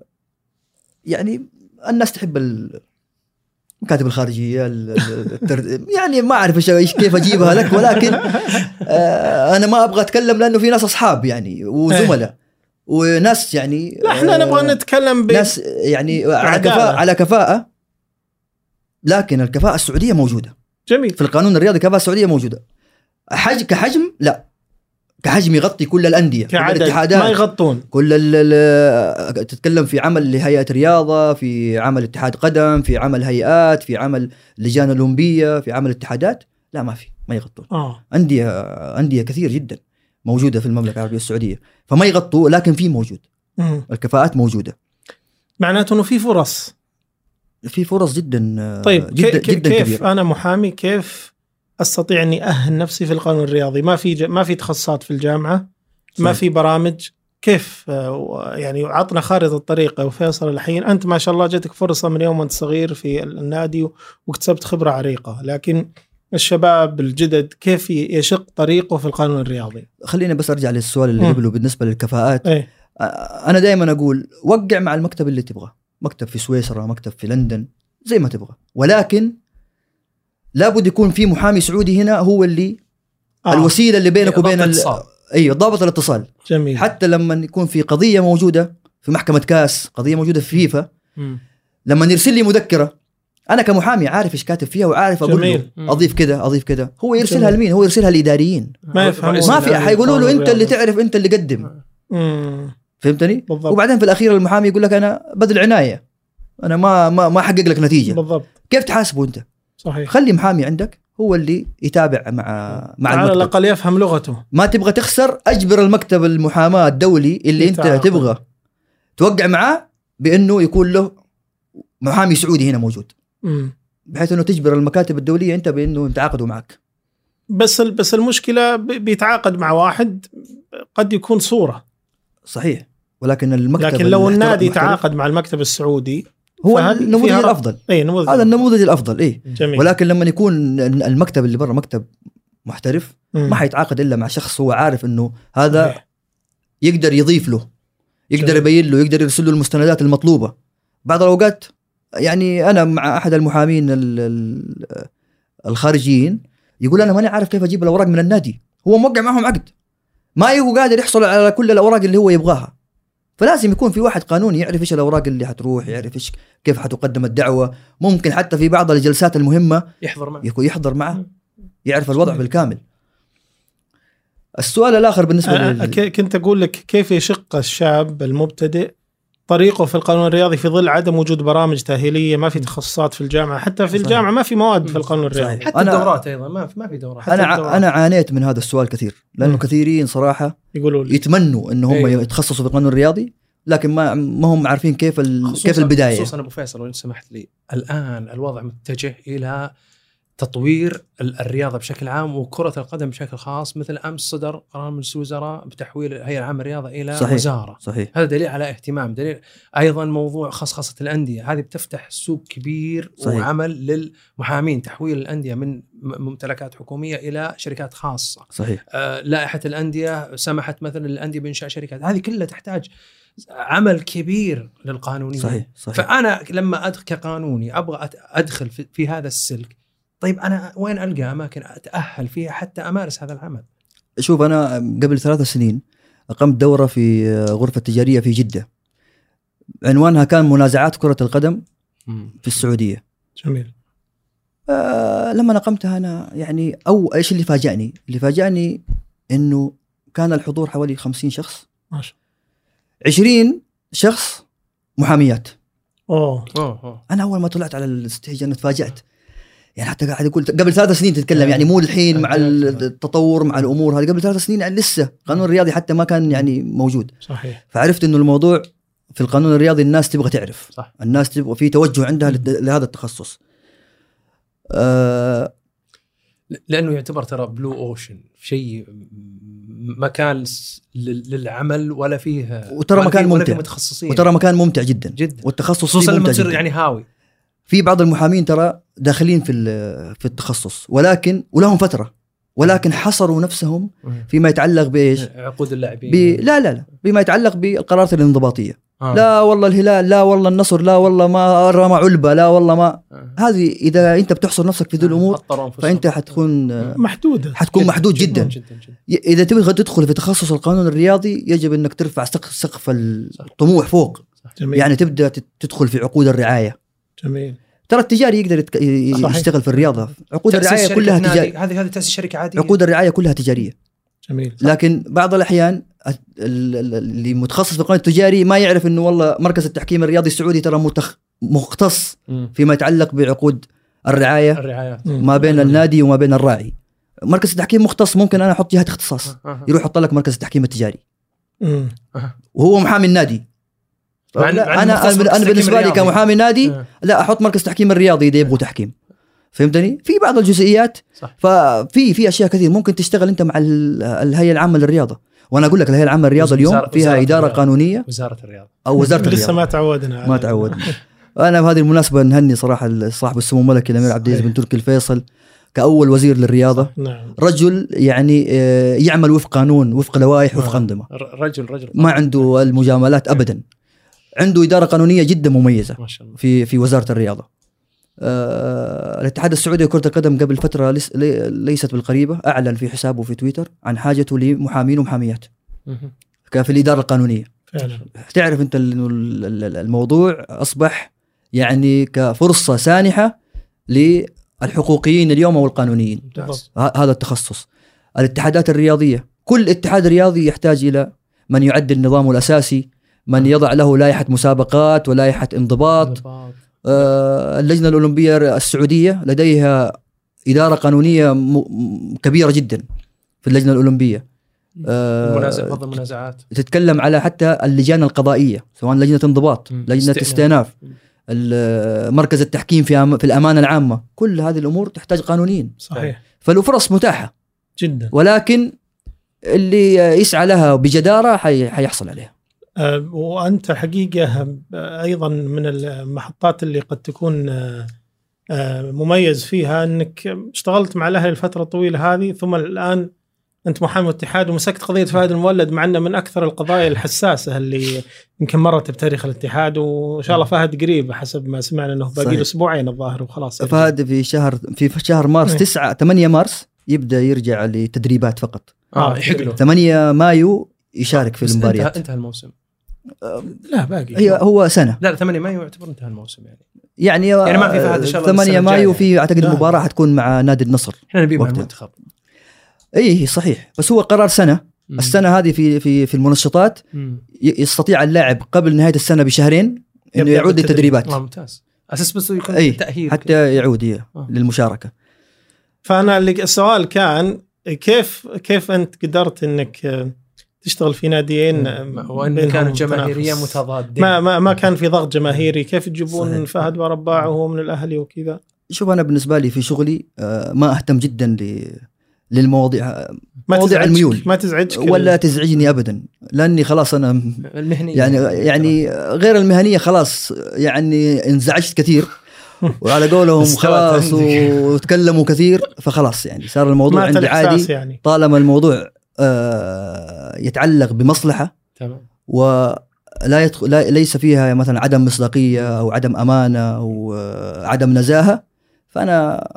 Speaker 1: يعني الناس تحب ال- المكاتب الخارجيه ال- ال- التر... يعني ما اعرف إيش- إيش- كيف اجيبها لك ولكن آه، انا ما ابغى اتكلم لانه في ناس اصحاب يعني وزملاء وناس يعني
Speaker 2: لا احنا
Speaker 1: آه،
Speaker 2: نبغى نتكلم ب...
Speaker 1: ناس يعني على
Speaker 2: عدالة.
Speaker 1: كفاءة على كفاءة لكن الكفاءة السعودية موجودة
Speaker 2: جميل
Speaker 1: في القانون الرياضي الكفاءة السعودية موجودة حج كحجم لا كحجم يغطي كل الأندية كل
Speaker 2: كعدد ما
Speaker 1: الاتحادات
Speaker 2: يغطون
Speaker 1: كل ال ال- تتكلم في عمل لهيئة رياضة في عمل اتحاد قدم في عمل هيئات في عمل لجان أولمبية في عمل اتحادات لا ما في ما يغطون
Speaker 2: اه
Speaker 1: أندية أندية كثير جدا موجودة في المملكة العربية السعودية فما يغطوا لكن في موجود
Speaker 2: مم.
Speaker 1: الكفاءات موجودة
Speaker 2: معناته انه في فرص
Speaker 1: في فرص جدا
Speaker 2: طيب
Speaker 1: جدا
Speaker 2: جدا كيف,
Speaker 1: جدا
Speaker 2: كيف
Speaker 1: كبيره
Speaker 2: انا محامي كيف استطيع اني اهل نفسي في القانون الرياضي ما في ج... ما في تخصصات في الجامعه ما
Speaker 1: صحيح.
Speaker 2: في برامج كيف آه، و- يعني عطنا خارطه الطريق ابو فيصل الحين انت ما شاء الله جاتك فرصه من يوم انت صغير في ال- النادي و- واكتسبت خبره عريقه لكن الشباب الجدد كيف ي- يشق طريقه في القانون الرياضي
Speaker 1: خلينا بس ارجع للسؤال اللي
Speaker 2: مم.
Speaker 1: قبله بالنسبه للكفاءات
Speaker 2: ايه
Speaker 1: أ- انا دائما اقول وقع مع المكتب اللي تبغاه مكتب في سويسرا مكتب في لندن زي ما تبغى ولكن لابد يكون في محامي سعودي هنا هو اللي آه. الوسيله اللي بينك وبين ال...
Speaker 3: الاتصال.
Speaker 1: ايوه ضابط الاتصال
Speaker 2: جميل
Speaker 1: حتى لما يكون في قضيه موجوده في محكمه كاس قضيه موجوده في فيفا
Speaker 3: مم.
Speaker 1: لما يرسل لي مذكره انا كمحامي عارف ايش كاتب فيها وعارف اقول له
Speaker 2: جميل.
Speaker 3: مم.
Speaker 1: اضيف كذا اضيف كذا هو يرسلها
Speaker 2: جميل.
Speaker 1: لمين هو يرسلها للاداريين
Speaker 2: ما يفهم
Speaker 3: رئيس
Speaker 1: ما
Speaker 2: ما
Speaker 1: في
Speaker 3: النادي.
Speaker 1: حيقولوا له
Speaker 2: قانون
Speaker 1: انت اللي
Speaker 2: رياضي.
Speaker 1: تعرف انت اللي قدم
Speaker 2: مم.
Speaker 1: فهمتني
Speaker 2: بالضبط.
Speaker 1: وبعدين في الاخير المحامي يقول لك انا بذل عنايه انا ما ما ما احقق لك نتيجه
Speaker 2: بالضبط
Speaker 1: كيف تحاسبه انت
Speaker 2: صحيح
Speaker 1: خلي محامي عندك هو اللي يتابع مع مع
Speaker 2: على
Speaker 1: المكتب
Speaker 2: الاقل يفهم لغته
Speaker 1: ما تبغى تخسر اجبر المكتب المحاماه الدولي اللي انت
Speaker 2: يتعاقد.
Speaker 1: تبغى توقع معاه بانه يكون له محامي سعودي هنا موجود
Speaker 2: مم.
Speaker 1: بحيث انه تجبر المكاتب الدوليه انت بانه يتعاقدوا معك
Speaker 2: بس ال- بس المشكله ب- بيتعاقد مع واحد قد يكون صوره
Speaker 1: صحيح ولكن المكتب
Speaker 2: لكن لو
Speaker 1: المحترف-
Speaker 2: النادي
Speaker 1: المحترف
Speaker 2: تعاقد مع المكتب السعودي
Speaker 1: هو
Speaker 2: فهذه
Speaker 1: النموذج
Speaker 2: فيها- إيه.
Speaker 1: الافضل
Speaker 2: اي نموذج
Speaker 1: هذا النموذج الافضل ايه
Speaker 2: جميل
Speaker 1: ولكن لما يكون المكتب اللي برا مكتب محترف
Speaker 2: مم.
Speaker 1: ما حيتعاقد الا مع شخص هو عارف انه هذا
Speaker 2: صحيح.
Speaker 1: يقدر يضيف له يقدر
Speaker 2: جميل.
Speaker 1: يبين له يقدر يرسل له المستندات المطلوبه بعض الاوقات يعني انا مع احد المحامين ال- ال- الخارجيين يقول انا ماني عارف كيف اجيب الاوراق من النادي هو موقع معهم عقد ما هو قادر يحصل على كل الاوراق اللي هو يبغاها فلازم يكون في واحد قانوني يعرف ايش الاوراق اللي حتروح يعرف ايش كيف حتقدم الدعوه ممكن حتى في بعض الجلسات المهمه
Speaker 3: يحضر معك
Speaker 1: يكون يحضر معه
Speaker 3: مم.
Speaker 1: يعرف الوضع
Speaker 3: صحيح.
Speaker 1: بالكامل السؤال الاخر بالنسبه
Speaker 2: أنا
Speaker 1: لل...
Speaker 2: أه، ك- كنت اقول لك كيف يشق الشاب المبتدئ طريقه في القانون الرياضي في ظل عدم وجود برامج تاهيليه ما في تخصصات في الجامعه حتى في
Speaker 1: صحيح.
Speaker 2: الجامعه ما في مواد
Speaker 3: مم.
Speaker 2: في القانون الرياضي
Speaker 1: صحيح.
Speaker 3: حتى
Speaker 1: أنا-
Speaker 3: الدورات ايضا ما في ما في دورات
Speaker 1: انا
Speaker 2: الدورات.
Speaker 1: ع... انا عانيت من هذا السؤال كثير لانه
Speaker 2: مم.
Speaker 1: كثيرين صراحه
Speaker 2: يقولوا لي
Speaker 1: يتمنوا ان هم
Speaker 3: أيوه.
Speaker 1: يتخصصوا في القانون الرياضي لكن ما ما هم عارفين كيف ال...
Speaker 3: خصوصاً-
Speaker 1: كيف البدايه
Speaker 3: خصوصا ابو فيصل وان سمحت لي الان الوضع متجه الى تطوير ال- الرياضه بشكل عام وكره القدم بشكل خاص مثل امس صدر قرار من الوزراء بتحويل الهيئه العامه للرياضه الى
Speaker 1: صحيح.
Speaker 3: وزاره
Speaker 1: صحيح
Speaker 3: هذا دليل على اهتمام دليل ايضا موضوع خصخصه الانديه هذه بتفتح سوق كبير
Speaker 1: صحيح.
Speaker 3: صحيح. وعمل للمحامين تحويل الانديه من م- ممتلكات حكوميه الى شركات خاصه
Speaker 1: صحيح
Speaker 3: آه، لائحه الانديه سمحت مثلا للانديه بانشاء شركات هذه كلها تحتاج عمل كبير للقانونيين
Speaker 1: صحيح صحيح
Speaker 3: فانا لما ادخل كقانوني ابغى أت- ادخل في- في هذا السلك طيب انا وين القى اماكن اتاهل فيها حتى امارس هذا العمل
Speaker 1: شوف انا قبل ثلاث سنين اقمت دوره في غرفه تجاريه في جده عنوانها كان منازعات كره القدم في السعوديه
Speaker 2: جميل
Speaker 1: آه، لما نقمتها انا يعني او ايش اللي فاجأني؟ اللي فاجأني انه كان الحضور حوالي 50 شخص
Speaker 2: ما شاء
Speaker 1: 20 شخص محاميات
Speaker 2: الله اوه
Speaker 3: اوه اوه
Speaker 1: انا اول ما طلعت على الستيج انا تفاجأت يعني حتى قاعد اقول قبل ثلاث سنين تتكلم يعني مو الحين مع
Speaker 2: أيوة.
Speaker 1: التطور مع الامور هذه قبل ثلاث سنين يعني لسه القانون الرياضي حتى ما كان يعني موجود
Speaker 2: صحيح
Speaker 1: فعرفت انه الموضوع في القانون الرياضي الناس تبغى تعرف
Speaker 3: صح.
Speaker 1: الناس تبغى في توجه عندها لد- لهذا التخصص آه
Speaker 3: ل- لانه يعتبر ترى بلو اوشن شيء م- مكان س- لل- للعمل ولا فيه
Speaker 1: وترى
Speaker 3: ولا
Speaker 1: مكان
Speaker 3: فيه- ولا
Speaker 1: ممتع.
Speaker 3: فيه متخصصين
Speaker 1: وترى مكان ممتع جدا
Speaker 3: جدا
Speaker 1: والتخصص
Speaker 3: خصوصا
Speaker 1: فيه
Speaker 3: لما
Speaker 1: ممتع
Speaker 3: تصير
Speaker 1: جدا.
Speaker 3: يعني هاوي
Speaker 1: في بعض المحامين ترى داخلين في ال- في التخصص ولكن ولهم فتره ولكن حصروا نفسهم فيما يتعلق بايش؟
Speaker 3: عقود اللاعبين
Speaker 1: ب... لا لا لا بما يتعلق بالقرارات الانضباطيه
Speaker 3: آه.
Speaker 1: لا والله الهلال لا والله النصر لا والله ما رمى علبه لا والله ما
Speaker 3: آه.
Speaker 1: هذه اذا انت بتحصر نفسك في ذي الامور
Speaker 3: خطروا أنفسهم.
Speaker 1: فانت حتكون
Speaker 3: آه.
Speaker 2: محدوده
Speaker 1: حتكون محدود جدا
Speaker 3: جدا جدا
Speaker 1: ي- اذا تبغى تدخل في تخصص القانون الرياضي يجب انك ترفع سقف سقف الطموح فوق
Speaker 2: جميل
Speaker 1: يعني تبدا تت- تدخل في عقود الرعايه
Speaker 2: جميل
Speaker 1: ترى التجاري يقدر يتك... ي-
Speaker 2: صحيح.
Speaker 1: يشتغل في الرياضه عقود
Speaker 3: تأسيس
Speaker 1: الرعايه
Speaker 3: شركة
Speaker 1: كلها
Speaker 3: نادي.
Speaker 1: تجاري
Speaker 3: هذه هذه تاسيس شركه عاديه
Speaker 1: عقود الرعايه كلها تجاريه
Speaker 2: جميل
Speaker 1: لكن بعض الاحيان ال- ال- اللي متخصص في القانون التجاري ما يعرف انه والله مركز التحكيم الرياضي السعودي ترى متخ... مختص
Speaker 3: مم.
Speaker 1: فيما يتعلق بعقود الرعايه
Speaker 3: الرعايات
Speaker 2: مم.
Speaker 1: ما بين النادي وما بين الراعي. مركز التحكيم مختص ممكن انا احط جهه اختصاص
Speaker 3: آه.
Speaker 1: يروح يحط لك مركز التحكيم التجاري
Speaker 2: مم.
Speaker 1: وهو محامي النادي.
Speaker 3: مع إن- مع إنه
Speaker 1: لا، انا
Speaker 3: مختص مركز
Speaker 1: انا
Speaker 3: التحكيم
Speaker 1: بالنسبه لي
Speaker 3: الرياضي.
Speaker 1: كمحامي نادي
Speaker 3: آه.
Speaker 1: لا احط مركز تحكيم الرياضي اذا يبغوا تحكيم. فهمتني؟ في بعض الجزئيات
Speaker 3: صح.
Speaker 1: ففي في اشياء كثير ممكن تشتغل انت مع ال- الهيئه العامه للرياضه وانا اقول لك الهيئه العامه للرياضه اليوم
Speaker 3: وزارة-
Speaker 1: فيها
Speaker 3: وزارة
Speaker 1: اداره
Speaker 3: الرياضة.
Speaker 1: قانونيه
Speaker 3: وزاره الرياضه [laughs]
Speaker 1: او وزاره الرياضه
Speaker 2: لسه ما تعودنا على-
Speaker 1: ما تعود انا بهذه المناسبه نهني صراحه صاحب السمو الملكي الامير عبد العزيز بن تركي الفيصل كاول وزير للرياضه
Speaker 2: نعم
Speaker 1: رجل يعني آه، يعمل وفق قانون وفق لوائح وفق
Speaker 3: آه.
Speaker 1: انظمه
Speaker 3: ر- رجل رجل
Speaker 1: ما عنده المجاملات ابدا عنده اداره قانونيه جدا مميزه
Speaker 3: ما شاء الله
Speaker 1: في في وزاره الرياضه. آه الاتحاد السعودي لكره القدم قبل فتره لس لي- ليست بالقريبه اعلن في حسابه في تويتر عن حاجته لمحامين ومحاميات
Speaker 3: مهم.
Speaker 1: كان في الاداره القانونيه.
Speaker 2: فعلا
Speaker 1: تعرف انت ال- إنه ال- ال- الموضوع اصبح يعني كفرصه سانحه للحقوقيين اليوم او القانونيين
Speaker 3: ممتاز
Speaker 1: ه- هذا التخصص. الاتحادات الرياضيه كل اتحاد رياضي يحتاج الى من يعدل نظامه الاساسي من يضع له لائحه مسابقات ولائحه انضباط
Speaker 3: انضباط.
Speaker 1: آه، اللجنه الاولمبيه السعوديه لديها اداره قانونيه م- م- كبيره جدا في اللجنه الاولمبيه
Speaker 3: نعم.
Speaker 1: آه،
Speaker 3: المنازع فض المنازعات
Speaker 1: تتكلم على حتى اللجان القضائيه سواء لجنه انضباط
Speaker 3: مم.
Speaker 1: لجنه
Speaker 3: استئناف.
Speaker 1: استئناف
Speaker 3: مم.
Speaker 1: ال- مركز التحكيم في أم- في الامانه العامه كل هذه الامور تحتاج قانونيين
Speaker 2: صحيح
Speaker 1: فالفرص متاحه
Speaker 2: جدا
Speaker 1: ولكن اللي يسعى لها بجداره حي- حيحصل عليها
Speaker 2: آه، وانت حقيقه آه، ايضا من المحطات اللي قد تكون آه، آه، مميز فيها انك اشتغلت مع الاهلي الفتره الطويله هذه ثم الان انت محامي اتحاد ومسكت قضيه فهد المولد مع انه من اكثر القضايا الحساسه اللي يمكن مرت بتاريخ الاتحاد وان شاء الله فهد قريب حسب ما سمعنا انه باقي
Speaker 1: صحيح.
Speaker 2: له اسبوعين الظاهر وخلاص يرجع.
Speaker 1: فهذا في شهر في شهر مارس
Speaker 3: إيه.
Speaker 2: مم.
Speaker 1: 9 8 مارس يبدا يرجع لتدريبات فقط
Speaker 3: اه يحق له
Speaker 1: 8 مايو يشارك في
Speaker 3: بس
Speaker 1: المباريات
Speaker 3: انتهى, انتهى الموسم
Speaker 2: لا باقي
Speaker 1: هي هو سنه
Speaker 3: لا لا 8 مايو يعتبر انتهى الموسم يعني
Speaker 1: يعني
Speaker 3: يعني ما في فهد إن شاء الله
Speaker 1: 8
Speaker 3: السنة
Speaker 1: مايو
Speaker 3: الجاية.
Speaker 1: في اعتقد
Speaker 2: لا.
Speaker 1: مباراه حتكون مع نادي النصر
Speaker 3: احنا نبيه مع
Speaker 1: وقتها.
Speaker 3: المنتخب
Speaker 1: اي صحيح بس هو قرار سنه
Speaker 3: مم.
Speaker 1: السنه هذه في في في المنشطات
Speaker 3: مم.
Speaker 1: ي- يستطيع اللاعب قبل نهايه السنه بشهرين انه
Speaker 2: يبدأ
Speaker 1: يعود
Speaker 2: بالتدريب.
Speaker 1: للتدريبات
Speaker 3: اه ممتاز اساس بس يكون
Speaker 1: أي،
Speaker 3: تاهيل كده.
Speaker 1: حتى يعود إيه، ي-
Speaker 3: آه.
Speaker 1: للمشاركه
Speaker 2: فانا اللي السؤال كان كيف كيف انت قدرت انك آه، تشتغل في ناديين آه،
Speaker 3: وان
Speaker 2: بينهم
Speaker 3: كانت جماهيريه
Speaker 2: تنافس.
Speaker 3: متضادين
Speaker 2: ما ما ما كان في ضغط جماهيري كيف تجيبون
Speaker 1: صحيح.
Speaker 2: فهد ورباع وهو من الاهلي وكذا
Speaker 1: شوف انا بالنسبه لي في شغلي آه، ما اهتم جدا ل للمواضيع
Speaker 2: ما
Speaker 1: مواضيع
Speaker 2: تزعجك
Speaker 1: الميول.
Speaker 2: ما تزعجك ال- إيه،
Speaker 1: ولا تزعجني ابدا لاني خلاص انا
Speaker 3: المهنيه
Speaker 1: يعني يعني غير المهنيه خلاص يعني انزعجت كثير
Speaker 2: [laughs]
Speaker 1: وعلى قولهم
Speaker 3: استوت
Speaker 1: خلاص
Speaker 3: عندك.
Speaker 1: وتكلموا كثير فخلاص يعني صار الموضوع
Speaker 2: مات
Speaker 1: عندي
Speaker 2: الاحساس
Speaker 1: عادي
Speaker 2: يعني
Speaker 1: طالما الموضوع آه، يتعلق بمصلحه
Speaker 3: تمام
Speaker 1: ولا يدخل لا ليس فيها مثلا عدم مصداقيه او عدم امانه او آه، عدم نزاهه فانا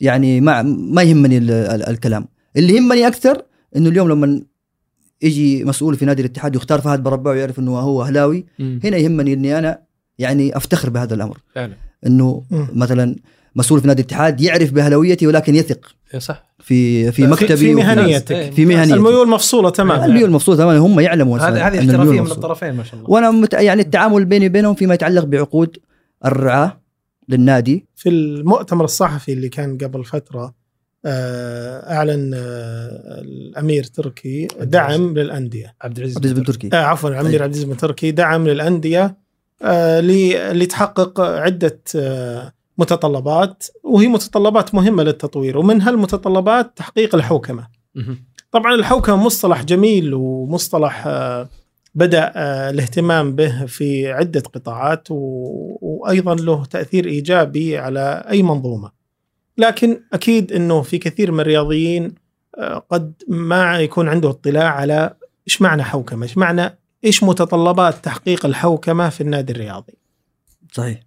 Speaker 1: يعني ما ما يهمني ال- ال- الكلام اللي يهمني اكثر انه اليوم لما يجي مسؤول في نادي الاتحاد يختار فهد برباع ويعرف انه هو اهلاوي هنا يهمني اني انا يعني افتخر بهذا الامر
Speaker 3: فعلا
Speaker 1: انه
Speaker 2: مم.
Speaker 1: مثلا مسؤول في نادي الاتحاد يعرف باهلاويتي ولكن يثق
Speaker 3: إيه صح
Speaker 1: في في
Speaker 3: في-
Speaker 1: مكتبي وفي-
Speaker 2: في مهنيتك.
Speaker 3: إيه،
Speaker 1: في مهنيتك.
Speaker 2: الميول مفصوله تماما
Speaker 1: الميول مبسوط تماما هم يعلموا
Speaker 3: هذه
Speaker 1: أن
Speaker 3: هذه
Speaker 1: الميول
Speaker 3: احترافيه من
Speaker 1: مبسوط.
Speaker 3: الطرفين ما شاء الله
Speaker 1: وانا مت... يعني التعامل بيني وبينهم فيما يتعلق بعقود الرعاه للنادي
Speaker 2: في المؤتمر الصحفي اللي كان قبل فتره آه، اعلن آه، الامير تركي دعم للانديه
Speaker 3: عبد العزيز
Speaker 1: عبد العزيز بن تركي
Speaker 2: آه، عفوا الامير
Speaker 1: طيب.
Speaker 2: عبد العزيز بن تركي دعم للانديه آه، لي- لتحقق عده آه، متطلبات وهي متطلبات مهمه للتطوير ومن هالمتطلبات تحقيق الحوكمه
Speaker 3: مهم.
Speaker 2: طبعا الحوكمه مصطلح جميل ومصطلح آه، بدا آه، الاهتمام به في عده قطاعات و- وايضا له تاثير ايجابي على اي منظومه لكن اكيد انه في كثير من الرياضيين آه، قد ما يكون عنده اطلاع على ايش معنى حوكمه ايش معنى ايش متطلبات تحقيق الحوكمه في النادي الرياضي
Speaker 1: صحيح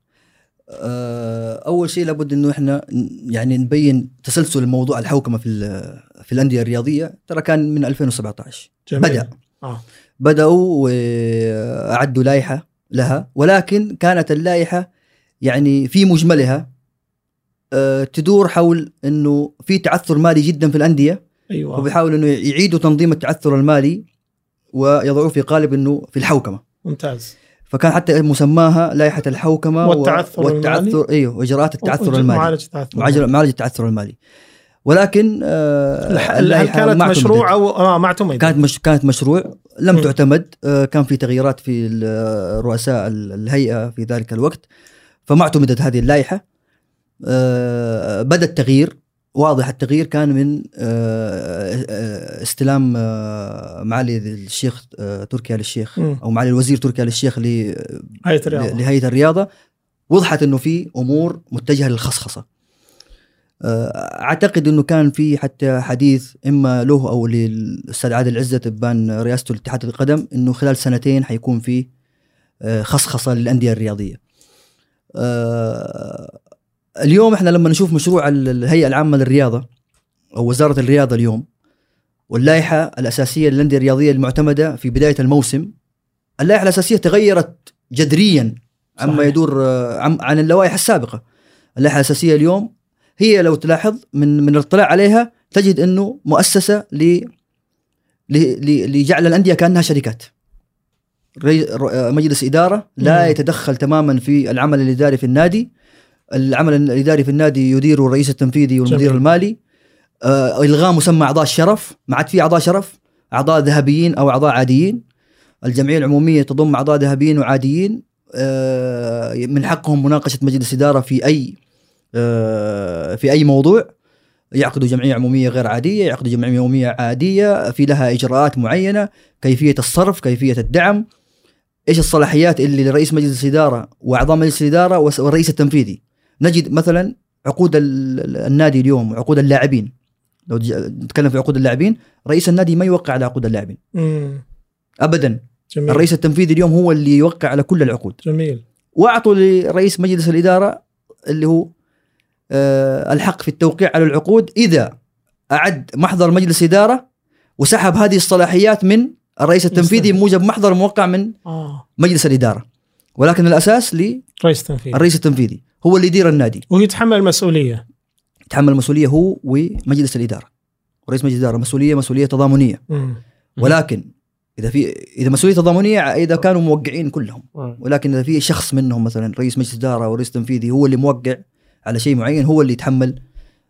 Speaker 1: آه، اول شيء لابد انه احنا ن- يعني نبين تسلسل موضوع الحوكمه في ال- في الانديه الرياضيه ترى كان من 2017
Speaker 2: جميل.
Speaker 1: بدأ.
Speaker 2: آه.
Speaker 1: بداوا واعدوا لائحه لها ولكن كانت اللائحه يعني في مجملها آه، تدور حول انه في تعثر مالي جدا في الانديه
Speaker 2: ايوه
Speaker 1: وبيحاولوا انه يعيدوا تنظيم التعثر المالي ويضعوه في قالب انه في الحوكمه
Speaker 2: ممتاز
Speaker 1: فكان حتى مسماها لائحه الحوكمه و-
Speaker 2: والتعثر المالي.
Speaker 1: ايوه واجراءات التعثر
Speaker 2: وج-
Speaker 1: المالي
Speaker 2: معالجه التعثر
Speaker 1: معالجه معالجه التعثر المالي ولكن
Speaker 2: الح-
Speaker 1: آه
Speaker 2: هل
Speaker 1: اللائحة
Speaker 2: كانت
Speaker 1: ما اعتمدت.
Speaker 2: مشروع او آه ما اعتمدت
Speaker 1: كانت مش كانت مشروع لم
Speaker 2: مم.
Speaker 1: تعتمد آه كان في تغييرات في ال- آه، رؤساء ال- الهيئه في ذلك الوقت فما اعتمدت هذه اللائحه آه بدا التغيير واضح التغيير كان من آه آه، استلام آه معالي الشيخ آه تركيا للشيخ
Speaker 2: مم.
Speaker 1: او معالي الوزير تركيا للشيخ ل-
Speaker 2: هيئه الرياضه
Speaker 1: لهيئه الرياضه وضحت انه في امور متجهه للخصخصه آه، اعتقد انه كان في حتى حديث اما له او للاستاذ عادل عزه تبان رئاسته لاتحاد القدم انه خلال سنتين حيكون في آه، خصخصه للانديه الرياضيه. آه، اليوم احنا لما نشوف مشروع ال- الهيئه العامه للرياضه او وزاره الرياضه اليوم واللائحه الاساسيه للانديه الرياضيه المعتمده في بدايه الموسم اللائحه الاساسيه تغيرت جذريا عما
Speaker 3: صحيح.
Speaker 1: يدور آه، عن عن اللوائح السابقه. اللائحه الاساسيه اليوم هي لو تلاحظ من من الاطلاع عليها تجد انه مؤسسه ل ل- ل- لجعل الانديه كانها شركات. ري- ر- آه، مجلس اداره لا
Speaker 2: مم.
Speaker 1: يتدخل تماما في العمل الاداري في النادي. العمل الاداري في النادي يديره الرئيس التنفيذي والمدير
Speaker 2: جميل.
Speaker 1: جميل. المالي. آه، الغاء مسمى اعضاء الشرف، ما عاد في اعضاء شرف، اعضاء ذهبيين او اعضاء عاديين. الجمعيه العموميه تضم اعضاء ذهبيين وعاديين آه، من حقهم مناقشه مجلس اداره في اي آه، في اي موضوع يعقدوا جمعيه عموميه غير عاديه، يعقدوا جمعيه عموميه عاديه في لها اجراءات معينه، كيفيه الصرف، كيفيه الدعم، ايش الصلاحيات اللي لرئيس مجلس الاداره واعضاء مجلس الاداره وس- والرئيس التنفيذي. نجد مثلا عقود ال- ال- النادي اليوم عقود اللاعبين لو تج- نتكلم في عقود اللاعبين، رئيس النادي ما يوقع على عقود اللاعبين
Speaker 2: مم.
Speaker 1: ابدا،
Speaker 2: جميل
Speaker 1: الرئيس التنفيذي اليوم هو اللي يوقع على كل العقود.
Speaker 2: جميل
Speaker 1: واعطوا لرئيس مجلس الاداره اللي هو آه، الحق في التوقيع على العقود اذا اعد محضر مجلس اداره وسحب هذه الصلاحيات من الرئيس التنفيذي
Speaker 2: مستمع.
Speaker 1: بموجب محضر موقع من
Speaker 3: آه.
Speaker 2: اه
Speaker 1: مجلس الاداره ولكن الاساس للرئيس
Speaker 2: رئيس تنفيذي
Speaker 1: التنفيذي هو اللي يدير النادي
Speaker 2: وهو يتحمل المسؤوليه
Speaker 1: يتحمل المسؤوليه هو ومجلس الاداره رئيس مجلس الاداره مسؤوليه مسؤوليه تضامنيه
Speaker 2: مم.
Speaker 3: مم.
Speaker 1: ولكن اذا في اذا مسؤوليه تضامنيه اذا كانوا موقعين كلهم
Speaker 3: آه.
Speaker 1: ولكن اذا في شخص منهم مثلا رئيس مجلس اداره او رئيس تنفيذي هو اللي موقع على شيء معين هو اللي يتحمل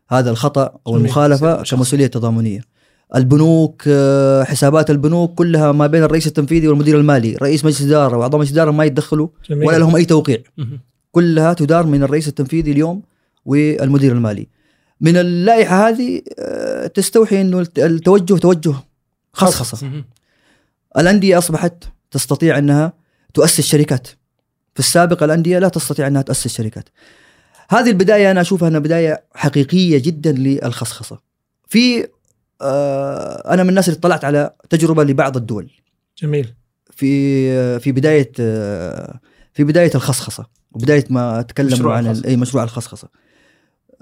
Speaker 1: هذا الخطا او
Speaker 2: جميل.
Speaker 1: المخالفه كمسؤوليه تضامنيه. البنوك آه، حسابات البنوك كلها ما بين الرئيس التنفيذي والمدير المالي، رئيس مجلس اداره واعضاء مجلس اداره ما يتدخلوا
Speaker 2: جميل
Speaker 1: ولا لهم اي توقيع،
Speaker 3: مهم.
Speaker 1: كلها تدار من الرئيس التنفيذي اليوم والمدير المالي من اللائحه هذه آه، تستوحي انه الت- التوجه توجه خصخصه
Speaker 3: مهم.
Speaker 1: الانديه اصبحت تستطيع انها تؤسس شركات في السابق الانديه لا تستطيع انها تؤسس شركات هذه البدايه انا اشوفها انها بدايه حقيقيه جدا للخصخصه في آه، انا من الناس اللي اطلعت على تجربه لبعض الدول
Speaker 2: جميل
Speaker 1: في في بدايه في بدايه الخصخصه وبدايه ما تكلموا
Speaker 3: مشروع
Speaker 1: عن
Speaker 3: الخصخصة.
Speaker 1: اي مشروع الخصخصه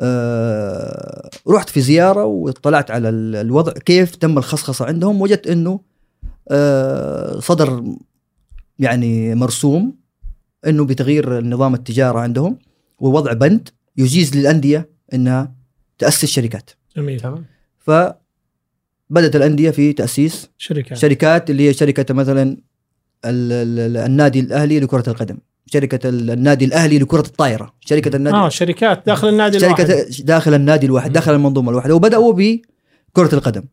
Speaker 1: آه، رحت في زياره واطلعت على ال- الوضع كيف تم الخصخصه عندهم وجدت انه آه، صدر يعني مرسوم انه بتغيير نظام التجاره عندهم ووضع بند يجيز للانديه انها تاسس شركات
Speaker 2: جميل
Speaker 3: تمام
Speaker 1: فبدات الانديه في تاسيس
Speaker 2: شركه
Speaker 1: شركات اللي هي شركه مثلا ال- ال- ال- النادي الاهلي لكره القدم شركه ال- النادي الاهلي لكره الطائره شركه النادي
Speaker 2: اه شركات داخل النادي
Speaker 1: شركه
Speaker 2: الواحد
Speaker 1: داخل النادي الواحد داخل المنظومه الواحده وبداوا بكره القدم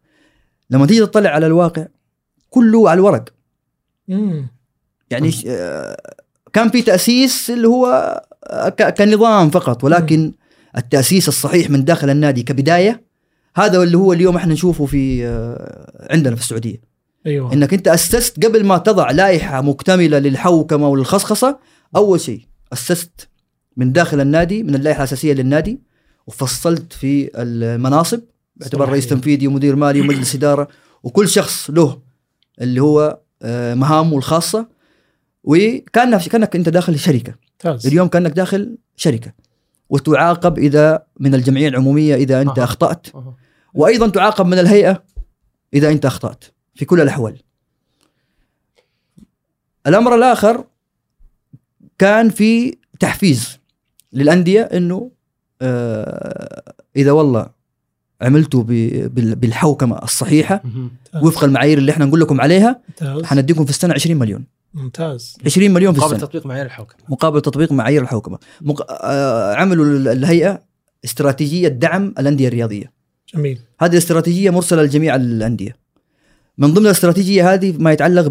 Speaker 1: لما تيجي تطلع على الواقع كله على الورق
Speaker 2: مم.
Speaker 1: يعني ش- آه، كان في تاسيس اللي هو آه، ك- كنظام فقط ولكن التاسيس الصحيح من داخل النادي كبدايه هذا اللي هو اليوم احنا نشوفه في آه، عندنا في السعوديه
Speaker 2: ايوه
Speaker 1: انك انت اسست قبل ما تضع لائحه مكتمله للحوكمه والخصخصه اول شيء اسست من داخل النادي من اللائحه الاساسيه للنادي وفصلت في المناصب باعتبار رئيس
Speaker 2: صلاحية.
Speaker 1: تنفيذي ومدير مالي ومجلس اداره وكل شخص له اللي هو آه، مهامه الخاصه وكانك كانك انت داخل شركه
Speaker 2: ممتاز
Speaker 1: اليوم كانك داخل شركه وتعاقب اذا من الجمعيه العموميه اذا انت
Speaker 3: أها.
Speaker 1: اخطات
Speaker 3: أها.
Speaker 1: وايضا تعاقب من الهيئه اذا انت اخطات في كل الاحوال. الامر الاخر كان في تحفيز للانديه انه آه، اذا والله عملتوا ب- بال- بالحوكمه الصحيحه
Speaker 3: مهم.
Speaker 1: وفق المعايير اللي احنا نقول لكم عليها
Speaker 2: ممتاز
Speaker 1: حنديكم في السنه 20 مليون
Speaker 2: ممتاز
Speaker 1: 20 مليون في
Speaker 3: مقابل
Speaker 1: السنه
Speaker 3: تطبيق معايير الحوكمه
Speaker 1: مقابل تطبيق معايير الحوكمه مق... آه... عملوا ال- الهيئه استراتيجيه دعم الانديه الرياضيه
Speaker 2: جميل
Speaker 1: هذه الاستراتيجيه مرسله لجميع الانديه من ضمن الاستراتيجيه هذه ما يتعلق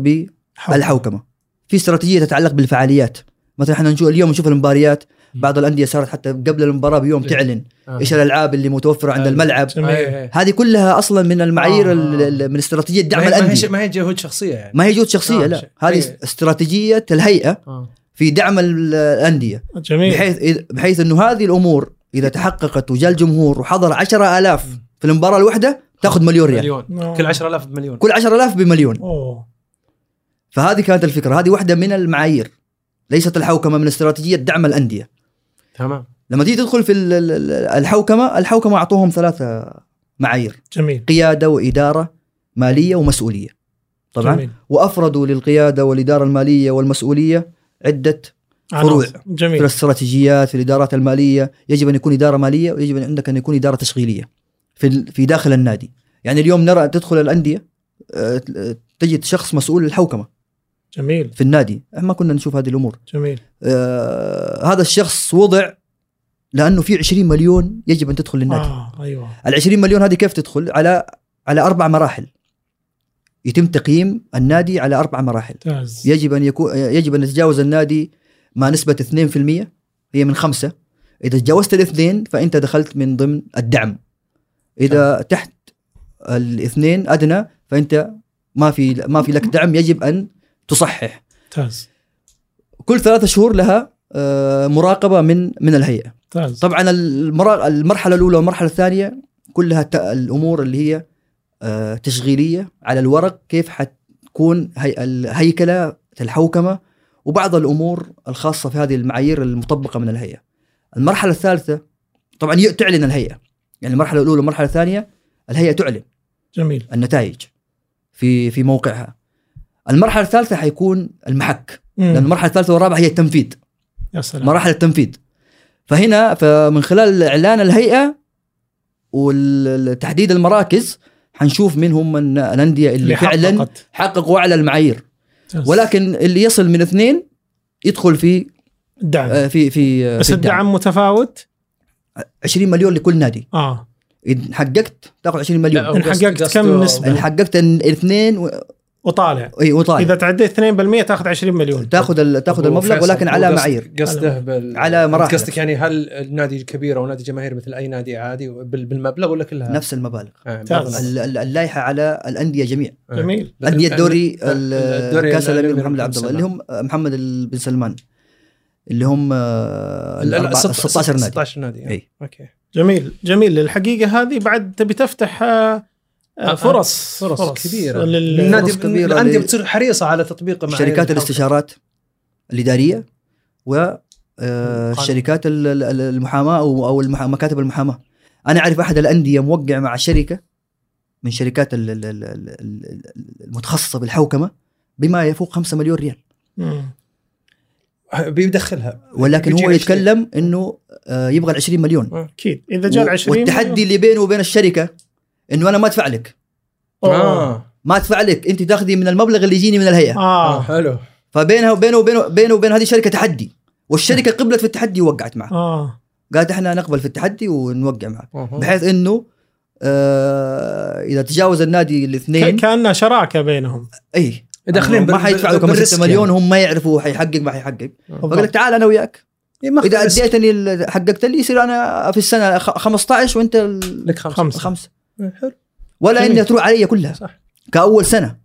Speaker 1: بالحوكمه في استراتيجيه تتعلق بالفعاليات مثلا احنا نشوف اليوم نشوف المباريات بعض الانديه صارت حتى قبل المباراه بيوم
Speaker 3: إيه.
Speaker 1: تعلن
Speaker 3: آه.
Speaker 1: ايش الالعاب اللي متوفره عند
Speaker 3: آه.
Speaker 1: الملعب
Speaker 2: جميل
Speaker 3: أي- أي.
Speaker 1: هذه كلها اصلا من المعايير
Speaker 3: آه.
Speaker 1: ال- ال- من استراتيجيه دعم
Speaker 3: يعني ما هي- ما هي ش-
Speaker 1: الانديه
Speaker 3: ما هي جهود شخصيه يعني
Speaker 1: ما هي جهود شخصيه
Speaker 3: آه،
Speaker 1: لا
Speaker 3: شيء.
Speaker 1: هذه
Speaker 3: إيه.
Speaker 1: استراتيجيه الهيئه
Speaker 3: آه.
Speaker 1: في دعم ال- الانديه
Speaker 3: إيه.
Speaker 2: جميل
Speaker 1: بحيث إذ- بحيث انه هذه الامور اذا تحققت وجاء الجمهور وحضر 10000 في المباراه الواحده تاخذ مليون ريال
Speaker 3: مليون
Speaker 2: آه.
Speaker 3: كل 10000 بمليون
Speaker 1: كل 10000 بمليون
Speaker 2: اوه
Speaker 1: فهذه كانت الفكره هذه واحده من المعايير ليست الحوكمه من استراتيجيه دعم الانديه
Speaker 3: تمام
Speaker 1: لما تيجي تدخل في ال- ال- ال- الحوكمه الحوكمه اعطوهم ثلاثه معايير
Speaker 2: جميل
Speaker 1: قياده واداره ماليه ومسؤوليه طبعا
Speaker 2: جميل.
Speaker 1: وافردوا للقياده والاداره الماليه والمسؤوليه عده فروع.
Speaker 2: عناصر. جميل
Speaker 1: في الاستراتيجيات في الادارات الماليه يجب ان يكون اداره ماليه ويجب ان عندك ان يكون اداره تشغيليه في ال- في داخل النادي يعني اليوم نرى تدخل الانديه آه، تجد شخص مسؤول الحوكمه
Speaker 2: جميل
Speaker 1: في النادي ما كنا نشوف هذه الامور
Speaker 2: جميل
Speaker 1: آه هذا الشخص وضع لانه في 20 مليون يجب ان تدخل للنادي آه.
Speaker 2: اه ايوه
Speaker 1: ال 20 مليون هذه كيف تدخل على على اربع مراحل يتم تقييم النادي على اربع مراحل
Speaker 2: ممتاز
Speaker 1: يجب ان يكون يجب ان يتجاوز النادي ما نسبه 2% هي من خمسه اذا تجاوزت الاثنين فانت دخلت من ضمن الدعم اذا تحت الاثنين ادنى فانت ما في ما في لك دعم يجب ان تصحح
Speaker 2: ممتاز
Speaker 1: كل ثلاثة شهور لها آه، مراقبة من من الهيئة
Speaker 2: ممتاز
Speaker 1: طبعا المرا- المرحلة الأولى والمرحلة الثانية كلها ت- الأمور اللي هي آه، تشغيلية على الورق كيف حتكون هي- الهيكلة الحوكمة وبعض الأمور الخاصة في هذه المعايير المطبقة من الهيئة المرحلة الثالثة طبعا ي- تعلن الهيئة يعني المرحلة الأولى والمرحلة الثانية الهيئة تعلن
Speaker 2: جميل
Speaker 1: النتائج في في موقعها المرحلة الثالثة حيكون المحك
Speaker 2: مم.
Speaker 1: لأن المرحلة الثالثة والرابعة هي التنفيذ
Speaker 2: يا سلام
Speaker 1: مراحل التنفيذ فهنا فمن خلال اعلان الهيئه وتحديد المراكز حنشوف من هم من الانديه اللي, اللي فعلا
Speaker 2: حققت.
Speaker 1: حققوا اعلى المعايير
Speaker 2: ممتاز.
Speaker 1: ولكن اللي يصل من اثنين يدخل في
Speaker 2: الدعم
Speaker 1: آه، في في آه،
Speaker 2: أه. بس
Speaker 1: في الدعم.
Speaker 2: الدعم متفاوت
Speaker 1: 20 مليون لكل نادي
Speaker 2: اه
Speaker 1: ان حققت تاخذ 20 مليون
Speaker 3: لا،
Speaker 2: إن حققت
Speaker 3: قصده-
Speaker 2: كم نسبة؟
Speaker 1: ان حققت الاثنين و-
Speaker 2: وطالع
Speaker 1: اي وطالع
Speaker 2: اذا تعديت 2% تاخذ 20 مليون
Speaker 1: طيب. تاخذ ال- تاخذ
Speaker 3: أبو
Speaker 1: المبلغ
Speaker 3: فيصل،
Speaker 1: ولكن
Speaker 3: هو
Speaker 1: على
Speaker 3: قصد-
Speaker 1: معايير
Speaker 3: قصده بال
Speaker 1: على مراحل.
Speaker 3: قصدك يعني هل النادي الكبير او نادي جماهير مثل اي نادي عادي بال- بالمبلغ ولا كلها؟
Speaker 1: نفس المبالغ
Speaker 3: آه،
Speaker 2: ممتاز.
Speaker 3: مبلغ.
Speaker 1: ال- ال- اللائحه على الانديه جميع
Speaker 3: آه.
Speaker 2: جميل
Speaker 3: ال-
Speaker 1: انديه
Speaker 3: ال-
Speaker 1: الدوري
Speaker 3: ال-
Speaker 1: ال- كاس الامير
Speaker 3: الأمير
Speaker 1: محمد عبد الله اللي هم محمد ال- بن سلمان اللي هم آه،
Speaker 3: لا، لا،
Speaker 1: الأربعة- 16 نادي إيه.
Speaker 3: 16 نادي
Speaker 1: إي.
Speaker 3: اي اوكي
Speaker 2: جميل جميل الحقيقه هذه بعد تبي تفتح آه، آه،
Speaker 3: آه،
Speaker 2: فرص
Speaker 3: فرص كبيرة.
Speaker 2: لل-
Speaker 1: نعم.
Speaker 3: النادي
Speaker 1: كبيرة
Speaker 3: الانديه
Speaker 1: ل-
Speaker 3: بتصير حريصه على تطبيق معايير
Speaker 1: شركات
Speaker 3: الحلقة.
Speaker 1: الاستشارات الاداريه و آه، الشركات ال- ال- ال- المحاماه او أو المح- مكاتب المحاماه انا اعرف احد الانديه موقع مع شركه من شركات ال- ال- ال- ال- ال- المتخصصه بالحوكمه بما يفوق 5 مليون ريال
Speaker 2: مم.
Speaker 3: آه، بيدخلها
Speaker 1: ولكن
Speaker 3: بيجي
Speaker 1: هو
Speaker 3: 20.
Speaker 1: يتكلم انه آه، يبغى ال 20 مليون
Speaker 2: اكيد اذا جاء 20
Speaker 1: والتحدي اللي بينه وبين الشركه انه انا ما ادفع لك
Speaker 2: اه
Speaker 3: اه
Speaker 1: ما ادفع لك انت تاخذي من المبلغ اللي يجيني من الهيئه
Speaker 3: اه
Speaker 2: اه
Speaker 3: حلو
Speaker 1: فبينها وبينه وبينه بينه وبين هذه الشركه تحدي والشركه قبلت في التحدي ووقعت معه
Speaker 2: اه
Speaker 1: قالت احنا نقبل في التحدي ونوقع معك
Speaker 3: أها.
Speaker 1: بحيث انه آه اذا تجاوز النادي الاثنين
Speaker 2: ك- كانها شراكه بينهم
Speaker 1: اي
Speaker 3: داخلين
Speaker 1: ما
Speaker 3: بال-
Speaker 1: حيدفع
Speaker 3: بال-
Speaker 1: لكم
Speaker 3: بالريسك
Speaker 1: 6 مليون
Speaker 3: يعني.
Speaker 1: هم ما يعرفوا حيحقق ما حيحقق فقال لك
Speaker 2: بالضبط.
Speaker 1: تعال انا وياك
Speaker 3: إيه، ما
Speaker 1: اذا
Speaker 3: أخذ ريسك.
Speaker 1: اديتني ال- حققت لي يصير انا في السنه خ- 15 وانت ال-
Speaker 3: لك خمسه
Speaker 2: خمسة.
Speaker 1: خمسه
Speaker 2: إيه،
Speaker 3: حلو
Speaker 1: ولا
Speaker 2: جميل.
Speaker 1: انها تروح علي كلها
Speaker 3: صح.
Speaker 1: كاول سنه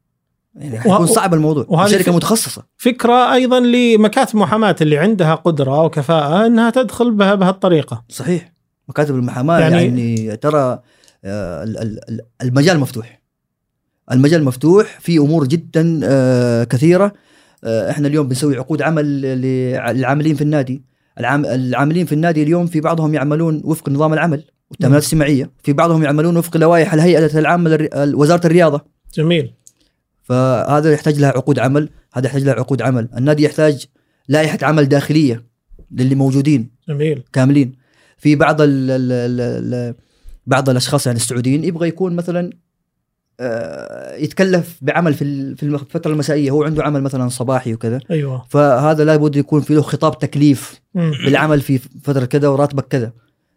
Speaker 1: يعني حيكون
Speaker 2: وه-
Speaker 1: صعب الموضوع
Speaker 2: وهذه
Speaker 1: شركه
Speaker 2: في-
Speaker 1: متخصصه
Speaker 2: فكره ايضا لمكاتب محاماه اللي عندها قدره وكفاءه انها تدخل بها بهالطريقه
Speaker 1: صحيح مكاتب المحاماه يعني,
Speaker 2: يعني-
Speaker 1: يعني ترى آه، ال- ال- ال- المجال مفتوح المجال مفتوح في امور جدا آه، كثيره آه، احنا اليوم بنسوي عقود عمل ل- للعاملين في النادي العام- العاملين في النادي اليوم في بعضهم يعملون وفق نظام العمل والتامينات الاجتماعيه في بعضهم يعملون وفق لوائح الهيئه العامه للر- وزاره الرياضه
Speaker 2: جميل
Speaker 1: فهذا يحتاج لها عقود عمل هذا يحتاج لها عقود عمل النادي يحتاج لائحه عمل داخليه للي موجودين
Speaker 2: جميل
Speaker 1: كاملين في بعض ال ال ال ال بعض الاشخاص يعني السعوديين يبغى يكون مثلا آه، يتكلف بعمل في ال- في المخ- الفتره المسائيه هو عنده عمل مثلا صباحي وكذا
Speaker 2: ايوه
Speaker 1: فهذا لابد يكون في له خطاب تكليف
Speaker 2: مم.
Speaker 1: بالعمل في فتره كذا وراتبك كذا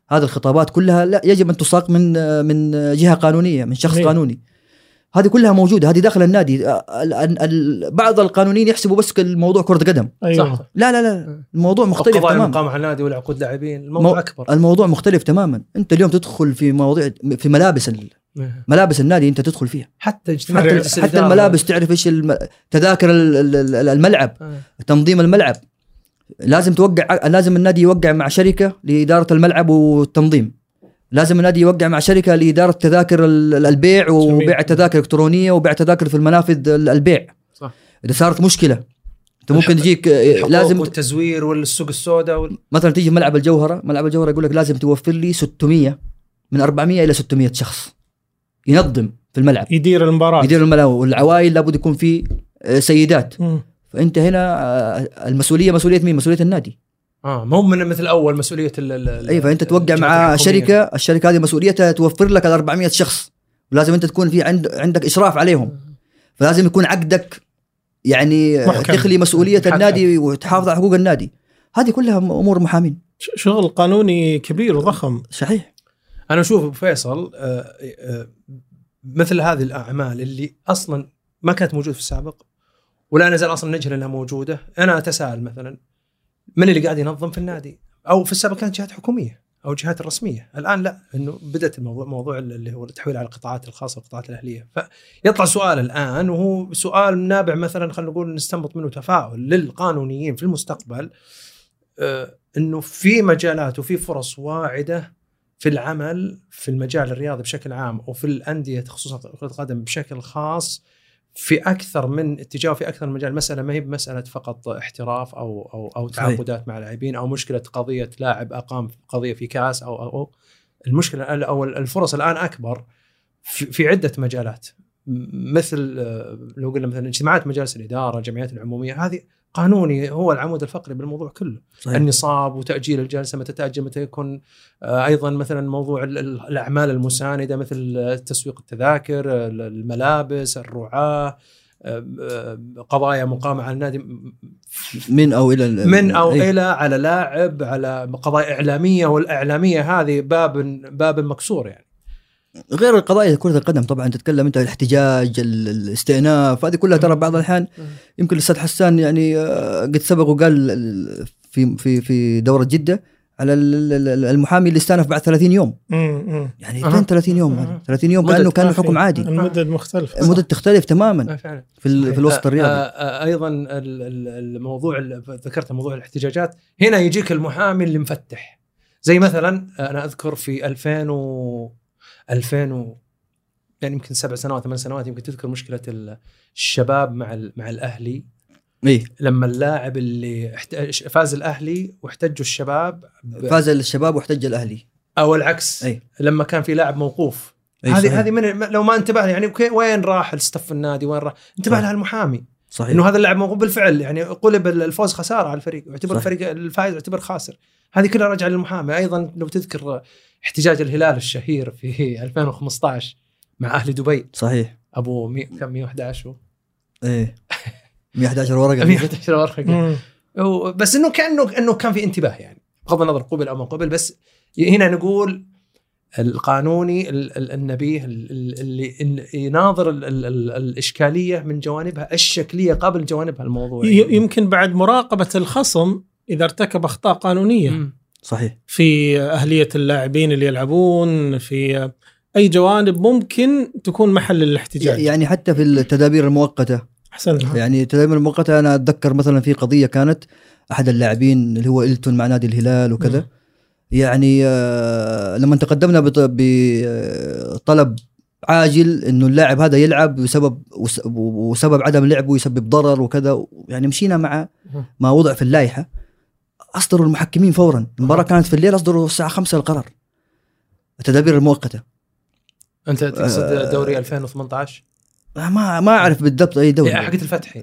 Speaker 1: هذه الخطابات كلها لا يجب ان تساق من من جهه قانونيه من شخص
Speaker 2: جميل.
Speaker 1: قانوني هذه كلها موجوده هذه داخل النادي ال- ال- ال- بعض القانونيين يحسبوا بس الموضوع كره قدم
Speaker 2: ايوه
Speaker 3: صح.
Speaker 1: لا لا لا الموضوع مختلف
Speaker 3: القضاء
Speaker 1: تماما
Speaker 3: المقام على النادي والعقود لاعبين الموضوع
Speaker 1: مو-
Speaker 3: اكبر
Speaker 1: الموضوع مختلف تماما انت اليوم تدخل في مواضيع في ملابس ال- ملابس النادي انت تدخل فيها
Speaker 3: حتى آه. اجتماع
Speaker 1: إيه. حتى,
Speaker 3: مجلس
Speaker 1: حتى
Speaker 3: الإدارة.
Speaker 1: الملابس تعرف ايش الم... تذاكر ال- ال- ال- الملعب
Speaker 3: آه.
Speaker 1: تنظيم الملعب لازم توقع لازم النادي يوقع مع شركه لاداره الملعب والتنظيم لازم النادي يوقع مع شركه لاداره تذاكر ال- ال- البيع وبيع تذاكر الكترونيه وبيع تذاكر في المنافذ ال- البيع
Speaker 3: صح.
Speaker 1: اذا صارت مشكله انت ممكن
Speaker 3: الحق-
Speaker 1: تجيك اه،
Speaker 3: الحقوق
Speaker 1: لازم
Speaker 3: والتزوير والسوق السوداء وال...
Speaker 1: مثلا تيجي ملعب الجوهره ملعب الجوهره يقول لك لازم توفر لي 600 من 400 الى 600 شخص ينظم في الملعب
Speaker 2: يدير المباراه
Speaker 1: يدير الملعب والعوائل لابد يكون في آه، سيدات
Speaker 2: مم.
Speaker 1: فانت هنا آه، المسؤوليه مسؤوليه مين مسؤوليه النادي
Speaker 3: اه مو من مثل اول مسؤوليه ال... ال... ال-
Speaker 1: اي فانت أيوة، توقع
Speaker 3: الجهات
Speaker 1: مع
Speaker 3: الحكومية.
Speaker 1: شركه الشركه هذه مسؤوليتها توفر لك ال 400 شخص ولازم انت تكون في عند عندك اشراف عليهم فلازم يكون عقدك يعني آه،
Speaker 2: محكم.
Speaker 1: تخلي مسؤوليه
Speaker 3: محدد.
Speaker 1: النادي وتحافظ على حقوق النادي هذه كلها امور محامين
Speaker 2: ش- شغل قانوني كبير وضخم
Speaker 1: صحيح
Speaker 3: انا اشوف ابو فيصل آه، آه، مثل هذه الاعمال اللي اصلا ما كانت موجوده في السابق ولا نزال اصلا نجهل انها موجوده انا اتساءل مثلا من اللي قاعد ينظم في النادي او في السابق كانت جهات حكوميه او جهات الرسميه الان لا انه بدات الموضوع موضوع اللي هو التحويل على القطاعات الخاصه والقطاعات الاهليه فيطلع سؤال الان وهو سؤال نابع مثلا خلينا نقول نستنبط منه تفاؤل للقانونيين في المستقبل آه، انه في مجالات وفي فرص واعده في العمل في المجال الرياضي بشكل عام وفي الانديه خصوصا كره القدم بشكل خاص في اكثر من اتجاه في اكثر من مجال المساله ما هي بمساله فقط احتراف او او او
Speaker 1: صحيح.
Speaker 3: تعاقدات مع لاعبين او مشكله قضيه لاعب اقام قضيه في كاس او او, أو المشكله ال- او الفرص الان اكبر في, في عده مجالات م- مثل آه، لو قلنا مثلا اجتماعات مجالس الاداره، الجمعيات العموميه هذه قانوني هو العمود الفقري بالموضوع كله.
Speaker 1: صحيح.
Speaker 3: النصاب وتاجيل الجلسه متى تاجل متى يكون آه، ايضا مثلا موضوع ال- ال- الاعمال المسانده مثل آه، تسويق التذاكر، آه، ال- الملابس، الرعاه، آه، آه، قضايا مقامه على النادي م-
Speaker 1: من او الى ال-
Speaker 3: من او
Speaker 1: إيه.
Speaker 3: الى على لاعب على قضايا اعلاميه والاعلاميه هذه باب باب مكسور يعني
Speaker 1: غير القضايا كرة القدم طبعا تتكلم انت الاحتجاج ال- الاستئناف هذه كلها ترى بعض الاحيان
Speaker 3: مم.
Speaker 1: يمكن الاستاذ حسان يعني آه، قد سبق وقال ال- في في في دورة جدة على ال- ال- المحامي اللي استأنف بعد 30 يوم
Speaker 2: مم، مم.
Speaker 1: يعني
Speaker 3: أها.
Speaker 1: فين 30 يوم هذا؟
Speaker 3: أها.
Speaker 1: 30 يوم
Speaker 3: مدة أه.
Speaker 1: كانه كان
Speaker 2: ما في-
Speaker 1: الحكم عادي
Speaker 2: المدد مختلفة
Speaker 1: المدة تختلف
Speaker 3: آه،
Speaker 1: تماما
Speaker 3: فعلا
Speaker 1: في ال- في الوسط
Speaker 3: آه،
Speaker 1: الرياضي
Speaker 3: آه، آه، ايضا ال- ال- الموضوع ال- ذكرت موضوع الاحتجاجات هنا يجيك المحامي اللي مفتح زي مثلا آه، انا اذكر في 2000 و 2000 و يعني يمكن سبع سنوات ثمان سنوات يمكن تذكر مشكله ال- الشباب مع ال- مع الاهلي
Speaker 1: ايه
Speaker 3: لما اللاعب اللي احت- فاز الاهلي واحتجوا الشباب ب-
Speaker 1: فاز الشباب واحتج الاهلي
Speaker 3: او العكس
Speaker 1: أي.
Speaker 3: لما كان في لاعب موقوف
Speaker 1: أي إيه، صحيح.
Speaker 3: هذه هذه من لو ما انتبه يعني أوكي، وين راح الستف النادي وين راح انتبه
Speaker 1: صح.
Speaker 3: لها المحامي
Speaker 1: صحيح
Speaker 3: انه هذا اللاعب موقوف بالفعل يعني قلب الفوز خساره على الفريق يعتبر
Speaker 1: صحيح.
Speaker 3: الفريق الفائز يعتبر خاسر هذه كلها راجعه للمحامي ايضا لو تذكر احتجاج الهلال الشهير في [laughs] 2015 مع اهل دبي
Speaker 1: صحيح
Speaker 3: ابو مي... كم 111 و- [laughs]
Speaker 1: ايه 111 ورقه
Speaker 3: 111 ورقه
Speaker 2: مم.
Speaker 3: هو- بس انه كانه انه كان في انتباه يعني بغض النظر قبل او ما قبل بس هنا نقول القانوني ال- ال- النبيه ال- ال- اللي ال- يناظر ال- ال- ال- الاشكاليه من جوانبها الشكليه قبل جوانبها الموضوعيه
Speaker 2: ي- يمكن بعد مراقبة الخصم إذا ارتكب أخطاء قانونية
Speaker 3: مم.
Speaker 1: صحيح
Speaker 2: في أهلية اللاعبين اللي يلعبون في أي جوانب ممكن تكون محل الاحتجاج
Speaker 1: يعني حتى في التدابير المؤقته
Speaker 2: أحسنت
Speaker 1: يعني التدابير المؤقته انا اتذكر مثلا في قضيه كانت احد اللاعبين اللي هو التون مع نادي الهلال وكذا
Speaker 3: مم.
Speaker 1: يعني آه، لما تقدمنا بط- بطلب عاجل انه اللاعب هذا يلعب بسبب وس- وسبب عدم لعبه يسبب ضرر وكذا يعني مشينا مع
Speaker 3: مم.
Speaker 1: ما وضع في اللائحه اصدروا المحكمين فورا المباراه كانت في الليل اصدروا الساعه 5 القرار التدابير المؤقته
Speaker 3: انت تقصد
Speaker 1: آه،
Speaker 3: دوري 2018
Speaker 1: ما ما اعرف بالضبط اي دوري
Speaker 3: إيه، حقت الفتحي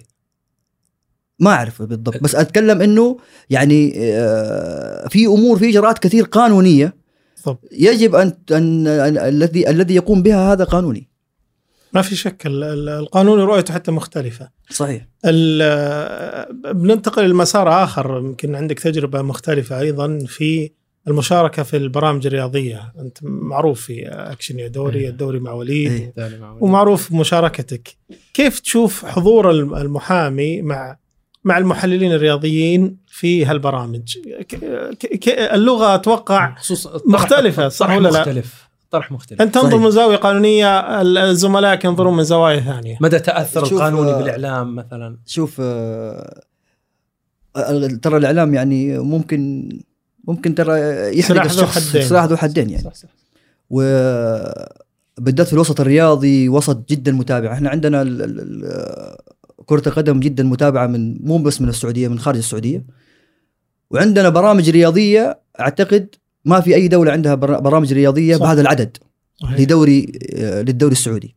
Speaker 1: ما اعرف بالضبط بس اتكلم انه يعني آه، في امور في اجراءات كثير قانونيه
Speaker 2: طب.
Speaker 1: يجب ان ان أن- الذي الذي يقوم بها هذا قانوني
Speaker 2: ما في شك ال- ال- القانون رؤيته حتى مختلفة
Speaker 1: صحيح
Speaker 2: ال- بننتقل لمسار آخر يمكن عندك تجربة مختلفة أيضا في المشاركة في البرامج الرياضية أنت معروف في أكشن يا دوري
Speaker 3: إيه.
Speaker 2: الدوري مع وليد
Speaker 1: إيه.
Speaker 3: دوري مع وليد.
Speaker 2: ومعروف مشاركتك كيف تشوف حضور الم- المحامي مع مع المحللين الرياضيين في هالبرامج ك- ك- ك- اللغه اتوقع
Speaker 3: خصوصا الطرح-
Speaker 2: مختلفة، صح
Speaker 3: الطرح
Speaker 2: ولا لا؟
Speaker 3: مختلف طرح مختلف
Speaker 2: انت تنظر
Speaker 1: صحيح.
Speaker 2: من زاويه قانونيه ال- زملائك ينظرون من زوايا ثانيه
Speaker 3: مدى تاثر
Speaker 1: شوف،
Speaker 3: القانوني
Speaker 1: آه،
Speaker 3: بالاعلام مثلا
Speaker 1: شوف آه، آه، ترى الاعلام يعني ممكن ممكن ترى يحرق
Speaker 2: سلاح ذو
Speaker 1: الشخص
Speaker 2: حدين.
Speaker 1: سلاح ذو حدين يعني
Speaker 3: صح.
Speaker 1: وبالذات في الوسط الرياضي وسط جدا متابع احنا عندنا ال- ال- ال- كرة القدم جدا متابعة من مو بس من السعودية من خارج السعودية وعندنا برامج رياضية اعتقد ما في اي دولة عندها برا- برامج رياضية
Speaker 2: صح.
Speaker 1: بهذا العدد
Speaker 2: صحيح.
Speaker 1: لدوري آه، للدوري السعودي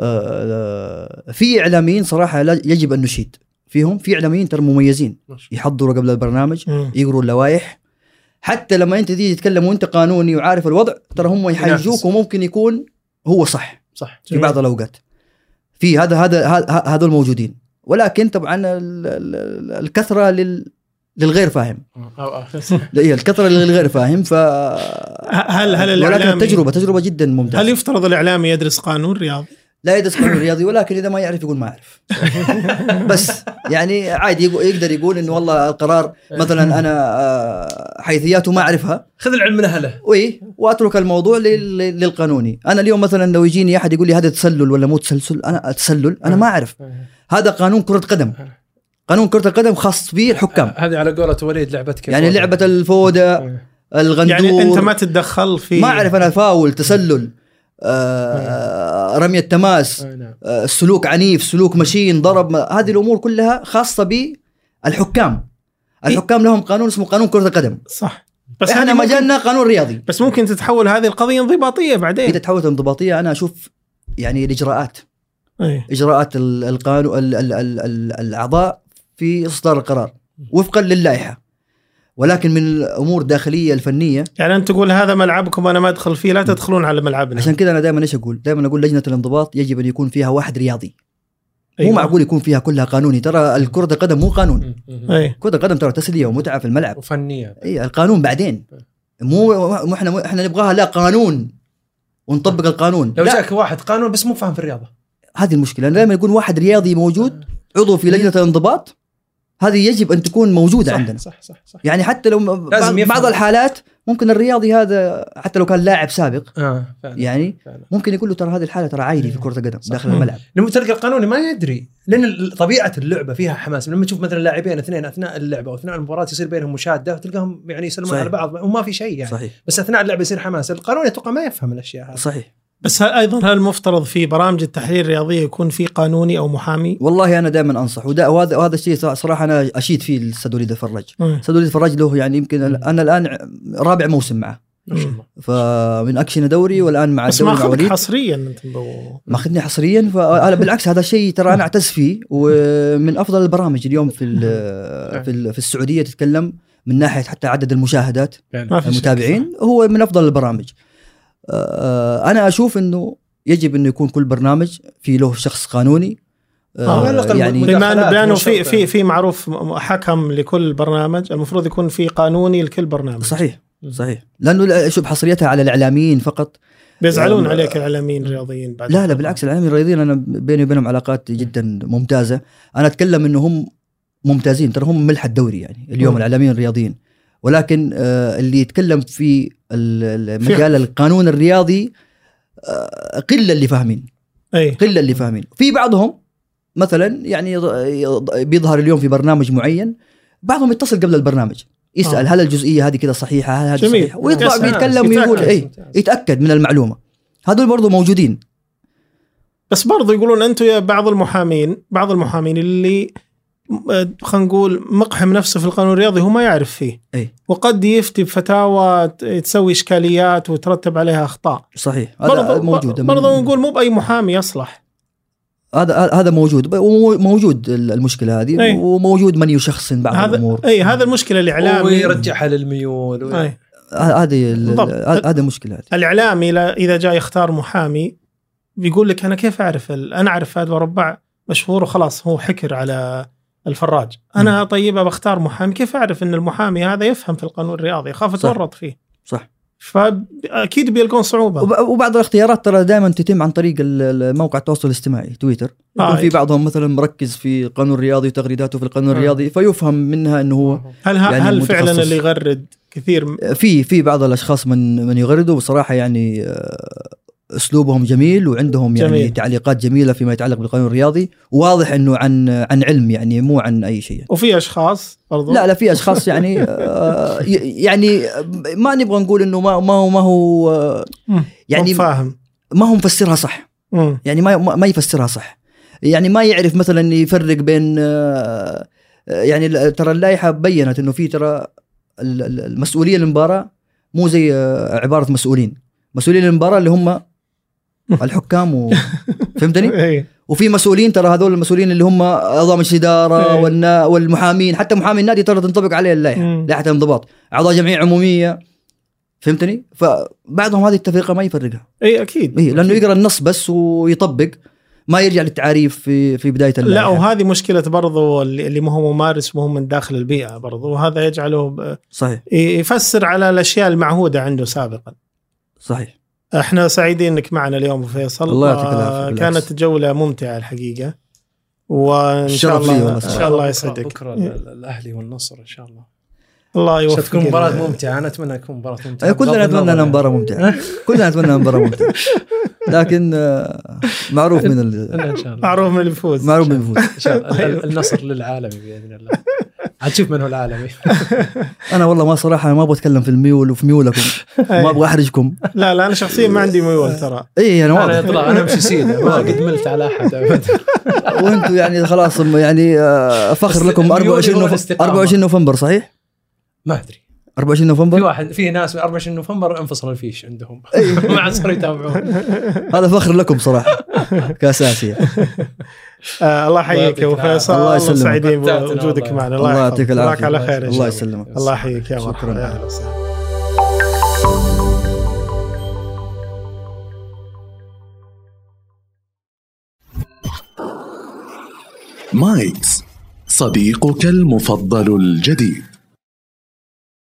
Speaker 1: آه، آه، في اعلاميين صراحة لا- يجب ان نشيد فيهم في اعلاميين ترى مميزين
Speaker 3: ما شاء
Speaker 1: يحضروا قبل البرنامج
Speaker 2: مم.
Speaker 1: يقروا اللوائح حتى لما انت تيجي تتكلم وانت قانوني وعارف الوضع ترى هم
Speaker 3: ينافس.
Speaker 1: يحجوك وممكن يكون هو صح
Speaker 3: صح
Speaker 1: في بعض الاوقات في هذا هذا ه- ه- هذول موجودين ولكن طبعا ال- ال- ال- الكثره لل للغير فاهم
Speaker 3: أو- أو-
Speaker 1: لا، هي الكثره للغير فاهم ف
Speaker 2: هل هل
Speaker 1: ولكن
Speaker 2: الإعلام-
Speaker 1: تجربه تجربه جدا
Speaker 2: هل
Speaker 1: ممتازه
Speaker 2: يفترض الاعلامي يدرس قانون رياضي؟
Speaker 1: لا يدرس قانون رياضي ولكن اذا ما يعرف يقول ما
Speaker 2: [laughs]
Speaker 1: اعرف بس يعني عادي يقو- يقدر يقول انه والله القرار
Speaker 2: إيه.
Speaker 1: مثلا انا آه، حيثياته ما اعرفها
Speaker 3: [laughs] خذ العلم من اهله
Speaker 1: وي واترك الموضوع لل- لل- للقانوني انا اليوم مثلا لو يجيني احد يقول لي هذا تسلل ولا مو تسلسل انا تسلل انا ما اعرف هذا قانون كره قدم قانون كره القدم خاص به الحكام
Speaker 3: هذه على قولة وليد لعبتك آه،
Speaker 1: يعني لعبه الفوده الغندور
Speaker 2: يعني انت ما تتدخل في
Speaker 1: ما اعرف انا فاول تسلل آه رميه تماس
Speaker 3: نعم.
Speaker 1: آه سلوك عنيف سلوك مشين ضرب ما- هذه الامور كلها خاصه بالحكام الحكام لهم قانون اسمه قانون كره القدم
Speaker 2: صح بس
Speaker 1: احنا
Speaker 2: هذه ممكن-
Speaker 1: مجالنا قانون رياضي
Speaker 2: بس ممكن تتحول هذه القضيه انضباطيه
Speaker 1: اذا
Speaker 2: بعدين
Speaker 1: تحولت انضباطيه انا اشوف يعني الاجراءات
Speaker 2: إيه.
Speaker 1: اجراءات ال- القانو ال- ال- ال- ال- الاعضاء في اصدار القرار وفقا للائحه ولكن من الامور الداخليه الفنيه
Speaker 2: يعني انت تقول هذا ملعبكم انا ما ادخل فيه لا تدخلون على
Speaker 3: نعم.
Speaker 2: ملعبنا
Speaker 1: عشان كذا انا دائما ايش اقول؟ دائما اقول لجنه الانضباط يجب ان يكون فيها واحد رياضي مو
Speaker 2: أيوة.
Speaker 1: معقول يكون فيها كلها قانوني ترى الكره القدم مو قانون
Speaker 2: اي
Speaker 1: كره القدم ترى تسليه ومتعه في الملعب إيه،
Speaker 3: وفنية
Speaker 1: اي القانون بعدين مو مو احنا مو احنا نبغاها لا قانون ونطبق القانون
Speaker 3: لو
Speaker 1: لا،
Speaker 3: جاك واحد قانون بس مو فاهم في الرياضه
Speaker 1: هذه المشكله انا دائما يكون واحد رياضي موجود
Speaker 3: آه.
Speaker 1: عضو في لجنه الانضباط هذه يجب ان تكون موجوده
Speaker 3: صح
Speaker 1: عندنا
Speaker 3: صح صح صح
Speaker 1: يعني حتى لو م-
Speaker 3: لازم
Speaker 1: بعض-
Speaker 3: يفهم.
Speaker 1: بعض الحالات ممكن الرياضي هذا حتى لو كان لاعب سابق
Speaker 3: اه فعلا
Speaker 1: يعني
Speaker 3: فعلا.
Speaker 1: ممكن يقول له ترى هذه الحاله ترى عايري في كره القدم داخل الملعب
Speaker 3: لما تلقى القانوني ما يدري لان ال- طبيعه اللعبه فيها حماس لما تشوف مثلا لاعبين اثنين اثناء اللعبه او اثناء المباراه يصير بينهم مشاده وتلقاهم يعني يسلمون
Speaker 1: صحيح.
Speaker 3: على بعض وما في شيء يعني صحيح.
Speaker 1: صحيح
Speaker 3: بس اثناء اللعبه يصير حماس القانوني اتوقع ما يفهم الاشياء هذه
Speaker 1: يعني صحيح
Speaker 2: بس هل ايضا هل المفترض في برامج التحليل الرياضيه يكون في قانوني او محامي؟
Speaker 1: والله انا دائما انصح وده وهذا وهذا الشيء ص- صراحه انا اشيد فيه السدوليد الفرج السدوليد الفرج له يعني يمكن ال- انا الان رابع موسم معه
Speaker 3: ما شاء الله
Speaker 1: فمن اكشن دوري والان مع
Speaker 2: بس ما
Speaker 1: الدوري مع
Speaker 2: اخذك
Speaker 1: وليد
Speaker 2: حصريا انت بو-
Speaker 1: ماخذني حصريا فانا بالعكس هذا الشيء ترى انا اعتز فيه ومن افضل البرامج اليوم في ال- في ال- في السعوديه تتكلم من ناحيه حتى عدد المشاهدات
Speaker 2: ما في شك.
Speaker 1: المتابعين هو من افضل البرامج آه، انا اشوف انه يجب انه يكون كل برنامج في له شخص قانوني
Speaker 2: آه، على
Speaker 3: الأقل
Speaker 1: يعني
Speaker 3: مدرب.
Speaker 2: بما انه
Speaker 3: مداخلات
Speaker 2: بانه
Speaker 3: مو
Speaker 2: في
Speaker 3: شرط
Speaker 2: في
Speaker 3: يعني.
Speaker 2: في معروف م- حكم لكل برنامج المفروض يكون في قانوني لكل برنامج
Speaker 1: صحيح صحيح لانه لا- شوف حصريتها على الاعلاميين فقط
Speaker 2: بيزعلون
Speaker 1: يعني-
Speaker 2: عليك الاعلاميين الرياضيين بعد
Speaker 1: لا لا بالعكس الاعلاميين الرياضيين انا بيني وبينهم علاقات جدا ممتازه انا اتكلم انه هم ممتازين ترى هم ملح الدوري يعني اليوم
Speaker 2: مم.
Speaker 1: الاعلاميين الرياضيين ولكن آه، اللي يتكلم في ال- ال- مجال القانون الرياضي آه، قله اللي فاهمين
Speaker 2: اي
Speaker 1: قله اللي فاهمين في بعضهم مثلا يعني يض- يض- بيظهر اليوم في برنامج معين بعضهم يتصل قبل البرنامج يسال
Speaker 2: آه.
Speaker 1: آه. هل الجزئيه هذه كذا صحيحه هل هذه
Speaker 2: جميل.
Speaker 1: صحيحه ويطلع
Speaker 2: يسأل.
Speaker 1: بيتكلم ويقول
Speaker 2: يتأكد.
Speaker 1: اي يتاكد من المعلومه هذول برضو موجودين
Speaker 2: بس برضو يقولون انتم يا بعض المحامين بعض المحامين اللي آه، خلينا نقول مقحم نفسه في القانون الرياضي هو ما يعرف فيه
Speaker 1: أي.
Speaker 2: وقد يفتي بفتاوى ت- تسوي اشكاليات وترتب عليها اخطاء
Speaker 1: صحيح هذا
Speaker 2: برضو
Speaker 1: موجود
Speaker 2: برضو نقول مو باي محامي يصلح
Speaker 1: هذا هذا موجود موجود المشكله هذه
Speaker 2: أي.
Speaker 1: وموجود من يشخصن بعض
Speaker 2: إيه. هذا إيه.
Speaker 1: الامور
Speaker 2: اي هذا إيه. المشكله الاعلامي
Speaker 3: ويرجعها للميول وي-
Speaker 2: أي.
Speaker 1: ه- هذه ال-
Speaker 2: بالضبط.
Speaker 1: ه- هذا مشكله هذه
Speaker 2: الاعلامي لا- اذا جاء يختار محامي بيقول لك انا كيف اعرف ال- انا اعرف فهد ورباع مشهور وخلاص هو حكر على الفراج انا طيب بختار محامي كيف اعرف ان المحامي هذا يفهم في القانون الرياضي اخاف
Speaker 1: صح.
Speaker 2: اتورط فيه
Speaker 1: صح.
Speaker 2: فاكيد بيلقون صعوبه
Speaker 1: وب- وبعض الاختيارات ترى دائما تتم عن طريق ال- ال- موقع التواصل الاجتماعي تويتر يكون
Speaker 2: آه،
Speaker 1: في بعضهم مثلا مركز في القانون الرياضي وتغريداته في القانون
Speaker 2: آه.
Speaker 1: الرياضي فيفهم منها انه هو
Speaker 2: هل يعني
Speaker 1: يعني
Speaker 2: هل فعلا
Speaker 1: متخصص.
Speaker 2: اللي يغرد كثير م-
Speaker 1: في في بعض الاشخاص من من يغردوا بصراحه يعني آه، اسلوبهم جميل وعندهم يعني
Speaker 2: جميل.
Speaker 1: جميل. تعليقات جميله فيما يتعلق بالقانون الرياضي واضح انه عن عن علم يعني مو عن اي شيء يعني.
Speaker 2: وفي اشخاص برضو
Speaker 1: لا لا في اشخاص يعني آه، ي- يعني ما نبغى نقول انه ما ما هو ما هو آه،
Speaker 2: مم.
Speaker 1: يعني
Speaker 2: مو فاهم
Speaker 1: ما هو مفسرها صح
Speaker 2: مم.
Speaker 1: يعني ما ما ما يفسرها صح يعني ما يعرف مثلا يفرق بين آه، آه، يعني ال- ترى اللائحه بينت انه في ترى ال- ال- المسؤوليه للمباراه مو زي آه، عباره مسؤولين مسؤولين المباراه اللي
Speaker 2: [laughs]
Speaker 1: هم الحكام و... فهمتني؟
Speaker 2: إيه.
Speaker 1: وفي مسؤولين ترى هذول المسؤولين اللي هم اعضاء مجلس اداره
Speaker 2: إيه.
Speaker 1: والنا... والمحامين حتى محامي النادي ترى تنطبق عليه اللائحه
Speaker 2: مم.
Speaker 1: لائحه الانضباط اعضاء جمعيه عموميه فهمتني؟ فبعضهم هذه التفرقه ما يفرقها
Speaker 2: اي اكيد
Speaker 1: اي لانه يقرا إيه، النص بس ويطبق ما يرجع للتعاريف في في بدايه
Speaker 2: لا
Speaker 1: اللائحه
Speaker 2: وهذه مشكلة برضو اللي اللي ما هو ممارس ما هو من داخل البيئة برضو وهذا يجعله ب-
Speaker 1: صحيح
Speaker 2: يفسر على الاشياء المعهوده عنده سابقا
Speaker 1: صحيح
Speaker 2: احنا سعيدين انك معنا اليوم ابو فيصل
Speaker 1: الله يعطيك
Speaker 2: آه،
Speaker 1: العافية، بالعكس.
Speaker 2: كانت جوله ممتعه الحقيقه وان شاء
Speaker 1: شرف لي
Speaker 2: الله
Speaker 1: والله.
Speaker 2: ان شاء الله إيه. يسعدك
Speaker 3: بكره ال- ال- الاهلي والنصر ان شاء الله
Speaker 2: الله يوفقك
Speaker 3: ستكون مباراه ممتعه انا اتمنى تكون مباراه ممتعه
Speaker 1: أي أيوة، كلنا
Speaker 3: بغض
Speaker 1: نتمنى
Speaker 3: النظر
Speaker 1: انها
Speaker 3: يعني.
Speaker 1: مباراه ممتعه كلنا نتمنى انها مباراه ممتعه لكن آه، معروف من ال-
Speaker 2: [laughs]
Speaker 3: إن شاء الله
Speaker 2: معروف من اللي بيفوز
Speaker 1: معروف من الفوز
Speaker 3: ان شاء الله ال- النصر للعالمي باذن الله هتشوف من هو العالمي
Speaker 1: انا والله ما صراحه ما ابغى اتكلم في الميول وفي ميولكم ما ابغى احرجكم
Speaker 2: لا لا انا شخصيا ما عندي ميول ترى آه،
Speaker 1: اي انا
Speaker 3: انا
Speaker 1: يعني واضح
Speaker 3: اطلع انا امشي سيده ما قد ملت على احد ابدا
Speaker 1: وانتم يعني خلاص يعني آه، فخر
Speaker 3: بس
Speaker 1: لكم
Speaker 3: الميول
Speaker 1: 24
Speaker 3: هو
Speaker 1: نوفمبر
Speaker 3: الاستقامة.
Speaker 1: 24 نوفمبر صحيح؟
Speaker 3: ما ادري
Speaker 1: 24
Speaker 3: في
Speaker 1: نوفمبر
Speaker 3: واحد في ناس من 24 نوفمبر انفصل الفيش عندهم [laughs] ما عاد صاروا يتابعون
Speaker 1: هذا فخر لكم صراحه كاساسية
Speaker 2: آه الله يحييك يا ابو
Speaker 3: يعطيك العافية.
Speaker 2: فيصل
Speaker 1: الله
Speaker 2: الله
Speaker 1: يسلمك.
Speaker 2: سعيدين
Speaker 3: متعتنا
Speaker 2: بوجودك
Speaker 3: والله.
Speaker 2: معنا
Speaker 1: الله
Speaker 2: يحفظك.
Speaker 1: يعطيك
Speaker 2: نراك
Speaker 1: العافيه
Speaker 2: على خير يا
Speaker 1: الله
Speaker 2: شيخ
Speaker 1: يسلمك
Speaker 2: الله يحييك يا
Speaker 1: شكراً.
Speaker 2: مرحبا يا أهلا وسهلا
Speaker 4: مايكس صديقك المفضل الجديد